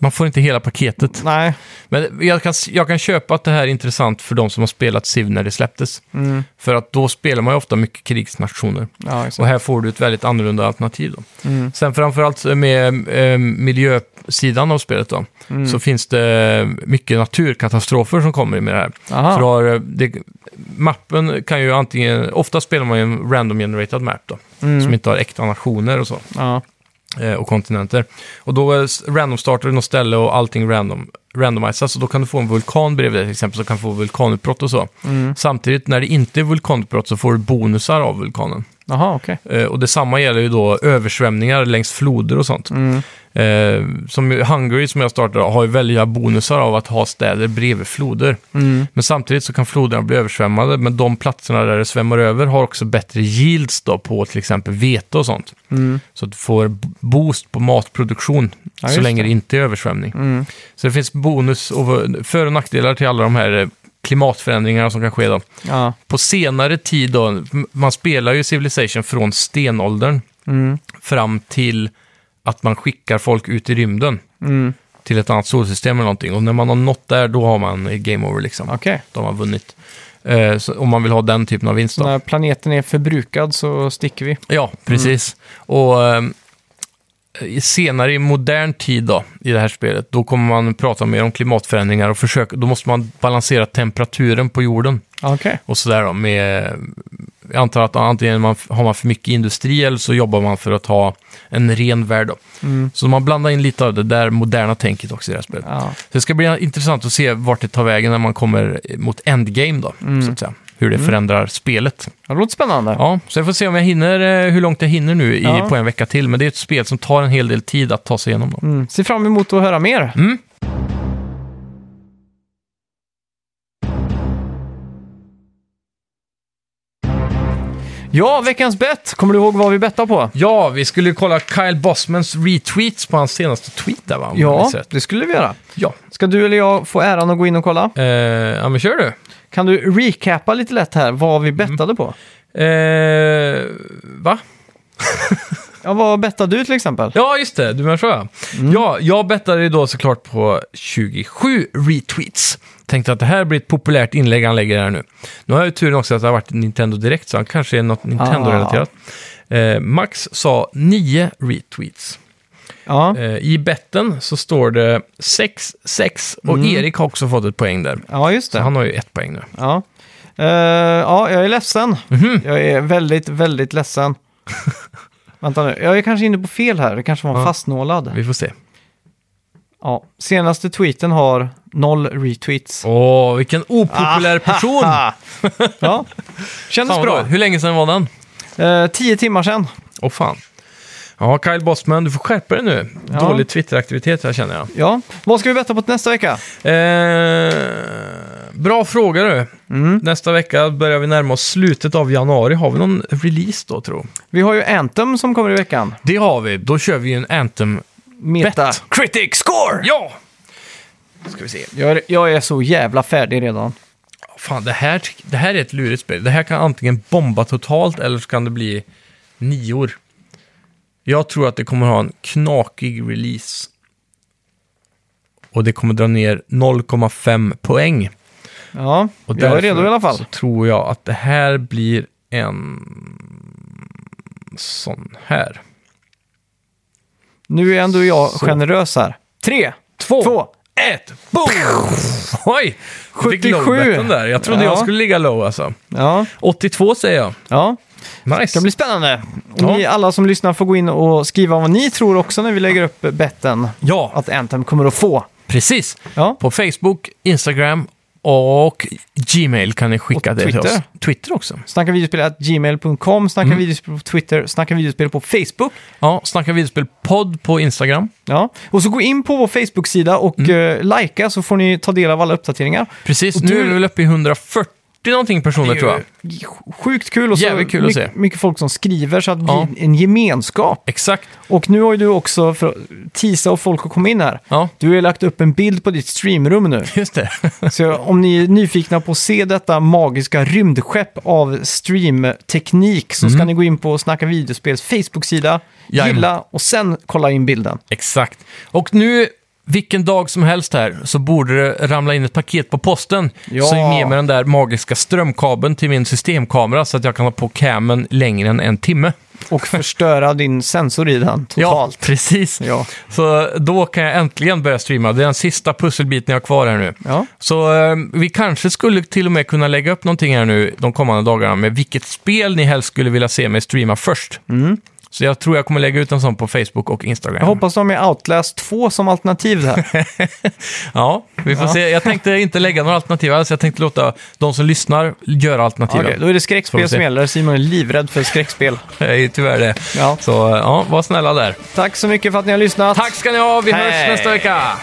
Speaker 2: Man får inte hela paketet.
Speaker 1: Nej.
Speaker 2: Men jag kan, jag kan köpa att det här är intressant för de som har spelat Civ när det släpptes.
Speaker 1: Mm.
Speaker 2: För att då spelar man ju ofta mycket krigsnationer.
Speaker 1: Ja,
Speaker 2: Och
Speaker 1: exakt.
Speaker 2: här får du ett väldigt annorlunda alternativ. Då.
Speaker 1: Mm.
Speaker 2: Sen framförallt med eh, miljösidan av spelet då,
Speaker 1: Mm.
Speaker 2: så finns det mycket naturkatastrofer som kommer med det här.
Speaker 1: Aha.
Speaker 2: Så du har, eh, det, mappen kan ju antingen, ofta spelar man ju en random generated map då, som inte har äkta nationer och så,
Speaker 1: Mm. Ja.
Speaker 2: eh, och kontinenter. Och då eh, s- random startar du något ställe och allting random, randomisas, och då kan du få en vulkan bredvid dig till exempel, så kan du få vulkanutbrott och
Speaker 1: Mm.
Speaker 2: så. Samtidigt när det inte är vulkanutbrott så får du bonusar av vulkanen.
Speaker 1: Jaha, okej.
Speaker 2: Eh, Och detsamma gäller ju då översvämningar längs floder och sånt.
Speaker 1: Mm.
Speaker 2: Eh, som ju- Hungary, som jag startade, har ju väldiga bonusar av att ha städer bredvid floder.
Speaker 1: Mm.
Speaker 2: Men samtidigt så kan floderna bli översvämmade, men de platserna där det svämmar över har också bättre yields då på till exempel vete och sånt. Så att du får b- boost på matproduktion
Speaker 1: Mm. Ja,
Speaker 2: så
Speaker 1: just
Speaker 2: länge
Speaker 1: det. Mm.
Speaker 2: det inte är översvämning. Så det finns bonus och för och nackdelar till alla de här eh, klimatförändringarna som kan ske då
Speaker 1: Ja.
Speaker 2: på senare tid då, man spelar ju Civilization från stenåldern fram till att man skickar folk ut i rymden till ett annat solsystem eller någonting. Och när man har nått där, då har man eh, game over liksom.
Speaker 1: Okej.
Speaker 2: Då har man vunnit. Eh, så, om man vill ha den typen av vinst då.
Speaker 1: När planeten är förbrukad så sticker vi.
Speaker 2: Ja, precis. Och eh, i- senare i modern tid då, i det här spelet, då kommer man prata mer om klimatförändringar och försöka, då måste man balansera temperaturen på jorden.
Speaker 1: Okej.
Speaker 2: och sådär då. Med, jag antar att antingen man, har man för mycket industri eller så jobbar man för att ha en ren värld. Då. Så man blandar in lite av det där moderna tänket också i det här spelet.
Speaker 1: Mm. Ja.
Speaker 2: Så det ska bli intressant att se vart det tar vägen när man kommer mot endgame då,
Speaker 1: Mm.
Speaker 2: så att säga. Hur det förändrar spelet.
Speaker 1: Ja, Det låter spännande.
Speaker 2: Ja, så jag får se om jag hinner, eh, hur långt jag hinner nu i,
Speaker 1: Ja.
Speaker 2: på en vecka till. Men det är ett spel som tar en hel del tid att ta sig igenom. Då.
Speaker 1: Mm. Ser fram emot att höra mer.
Speaker 2: Mm.
Speaker 1: Ja, veckans bett. Kommer du ihåg vad vi bettade på?
Speaker 2: Ja, vi skulle ju kolla Kyle Bosmans retweets på hans senaste tweet där va? om jag
Speaker 1: Ja,
Speaker 2: minns rätt.
Speaker 1: det skulle vi göra.
Speaker 2: ja.
Speaker 1: Ska du eller jag få äran att gå in och kolla?
Speaker 2: Eh, ja men kör du.
Speaker 1: Kan du recapa lite lätt här vad vi
Speaker 2: Mm.
Speaker 1: bettade på?
Speaker 2: Eh, va?
Speaker 1: Ja, vad bettade du till exempel?
Speaker 2: Ja, just det. Du menar så, ja. Ja, jag bettade ju då såklart på 27 retweets. Tänkte att det här blir ett populärt inlägg han lägger här nu. Nu har jag ju turen också att det har varit Nintendo Direkt, så han kanske är något Nintendo-relaterat. Eh, Max sa 9 retweets.
Speaker 1: Ja,
Speaker 2: Eh, I betten så står det 6-6 och Erik har också fått ett poäng där.
Speaker 1: ja just
Speaker 2: Så
Speaker 1: det.
Speaker 2: han har ju ett poäng nu.
Speaker 1: Ja. Eh, ja, jag är ledsen.
Speaker 2: Mhm.
Speaker 1: Jag är väldigt, väldigt ledsen. Vänta nu, jag är kanske inne på fel här. Det kanske var
Speaker 2: Ja.
Speaker 1: fastnålad.
Speaker 2: Vi får se.
Speaker 1: Ja. Senaste tweeten har noll retweets.
Speaker 2: Åh, vilken opopulär person!
Speaker 1: Ah. ja, kändes
Speaker 2: Fan,
Speaker 1: bra.
Speaker 2: bra. Hur länge sedan var den?
Speaker 1: Eh, tio timmar sedan.
Speaker 2: Åh fan. Ja, Kyle Bossman, du får skärpa dig nu.
Speaker 1: Ja.
Speaker 2: Dålig Twitter-aktivitet här känner jag.
Speaker 1: Ja. Vad ska vi betta på till nästa vecka?
Speaker 2: Eh, bra fråga du. Nästa vecka börjar vi närma oss slutet av januari. Har vi någon release då, tro?
Speaker 1: Vi har ju Anthem som kommer i veckan.
Speaker 2: Det har vi. Då kör vi ju en Anthem.
Speaker 1: Meta.
Speaker 2: Bett.
Speaker 1: Critic score!
Speaker 2: Ja! Ska vi se.
Speaker 1: Jag är, jag är så jävla färdig redan.
Speaker 2: Fan, det här, tyck- det här är ett lurigt spel. Det här kan antingen bomba totalt eller så kan det bli nior. Jag tror att det kommer ha en knakig release. Och det kommer dra ner 0,5 poäng.
Speaker 1: Ja,
Speaker 2: Och
Speaker 1: jag är
Speaker 2: därför
Speaker 1: redo i alla
Speaker 2: Så
Speaker 1: fall.
Speaker 2: tror jag att det här blir en sån här.
Speaker 1: Nu är ändå jag
Speaker 2: Så.
Speaker 1: generös här. Tre,
Speaker 2: Två,
Speaker 1: två, ett, boom!
Speaker 2: Oj! Du fick
Speaker 1: 77.
Speaker 2: low-betten där. Jag trodde
Speaker 1: Ja.
Speaker 2: jag skulle ligga low alltså.
Speaker 1: Ja,
Speaker 2: 82 säger jag.
Speaker 1: ja. Det
Speaker 2: Nice.
Speaker 1: ska bli spännande. Och
Speaker 2: Ja.
Speaker 1: Ni alla som lyssnar får gå in och skriva vad ni tror också när vi lägger upp betten
Speaker 2: Ja,
Speaker 1: att Anthem kommer att få.
Speaker 2: precis.
Speaker 1: Ja,
Speaker 2: På Facebook, Instagram och Gmail kan ni skicka
Speaker 1: Och
Speaker 2: det till
Speaker 1: Twitter.
Speaker 2: oss. Twitter också.
Speaker 1: snacka videospel at gmail.com,
Speaker 2: Mm.
Speaker 1: snacka videospel på Twitter, snacka videospel på Facebook.
Speaker 2: Ja, Snacka videospel podd på Instagram.
Speaker 1: Ja, och så gå in på vår Facebook-sida och eh, likea så får ni ta del av alla uppdateringar.
Speaker 2: Mm. Precis,
Speaker 1: Och
Speaker 2: nu
Speaker 1: tur-
Speaker 2: är vi väl uppe i 140 någonting personer tror jag.
Speaker 1: Det är ju Sjukt kul och så
Speaker 2: Jävligt kul att
Speaker 1: mycket,
Speaker 2: se.
Speaker 1: mycket folk som skriver så att det
Speaker 2: Ja.
Speaker 1: blir en gemenskap.
Speaker 2: Exakt.
Speaker 1: Och nu har ju du också, för att tisa och folk att komma in här,
Speaker 2: Ja,
Speaker 1: du har ju lagt upp en bild på ditt streamrum nu.
Speaker 2: just det.
Speaker 1: Så om ni är nyfikna på att se detta magiska rymdskepp av streamteknik så ska ni gå in på Snacka videospels Facebook-sida,
Speaker 2: Mm. Jajamän.
Speaker 1: gilla och sen kolla in bilden.
Speaker 2: Exakt. Och nu, vilken dag som helst här, så borde det ramla in ett paket på posten.
Speaker 1: Ja.
Speaker 2: Så ge mig den där magiska strömkabeln till min systemkamera så att jag kan ha på camen längre än en timme.
Speaker 1: Och förstöra din sensor i den totalt.
Speaker 2: Ja, precis.
Speaker 1: Ja.
Speaker 2: Så eh, då kan jag äntligen börja streama. Det är den sista pusselbiten jag har kvar här nu.
Speaker 1: Ja.
Speaker 2: Så eh, vi kanske skulle till och med kunna lägga upp någonting här nu de kommande dagarna med vilket spel ni helst skulle vilja se mig streama först. Så jag tror jag kommer lägga ut en sån på Facebook och Instagram.
Speaker 1: Mm. Jag hoppas de är Outlast 2 som alternativ där.
Speaker 2: Ja, vi får
Speaker 1: Ja.
Speaker 2: se. Jag tänkte inte lägga några alternativ alls. Jag tänkte låta de som lyssnar göra alternativen.
Speaker 1: Okej, då är det
Speaker 2: Får vi
Speaker 1: skräckspel
Speaker 2: se.
Speaker 1: som gäller. Simon är livrädd för skräckspel.
Speaker 2: Jag är ju tyvärr det.
Speaker 1: Ja.
Speaker 2: Så ja, var snälla där.
Speaker 1: Tack så mycket för att ni har lyssnat.
Speaker 2: Tack ska ni ha. Vi
Speaker 1: Hej.
Speaker 2: hörs nästa vecka.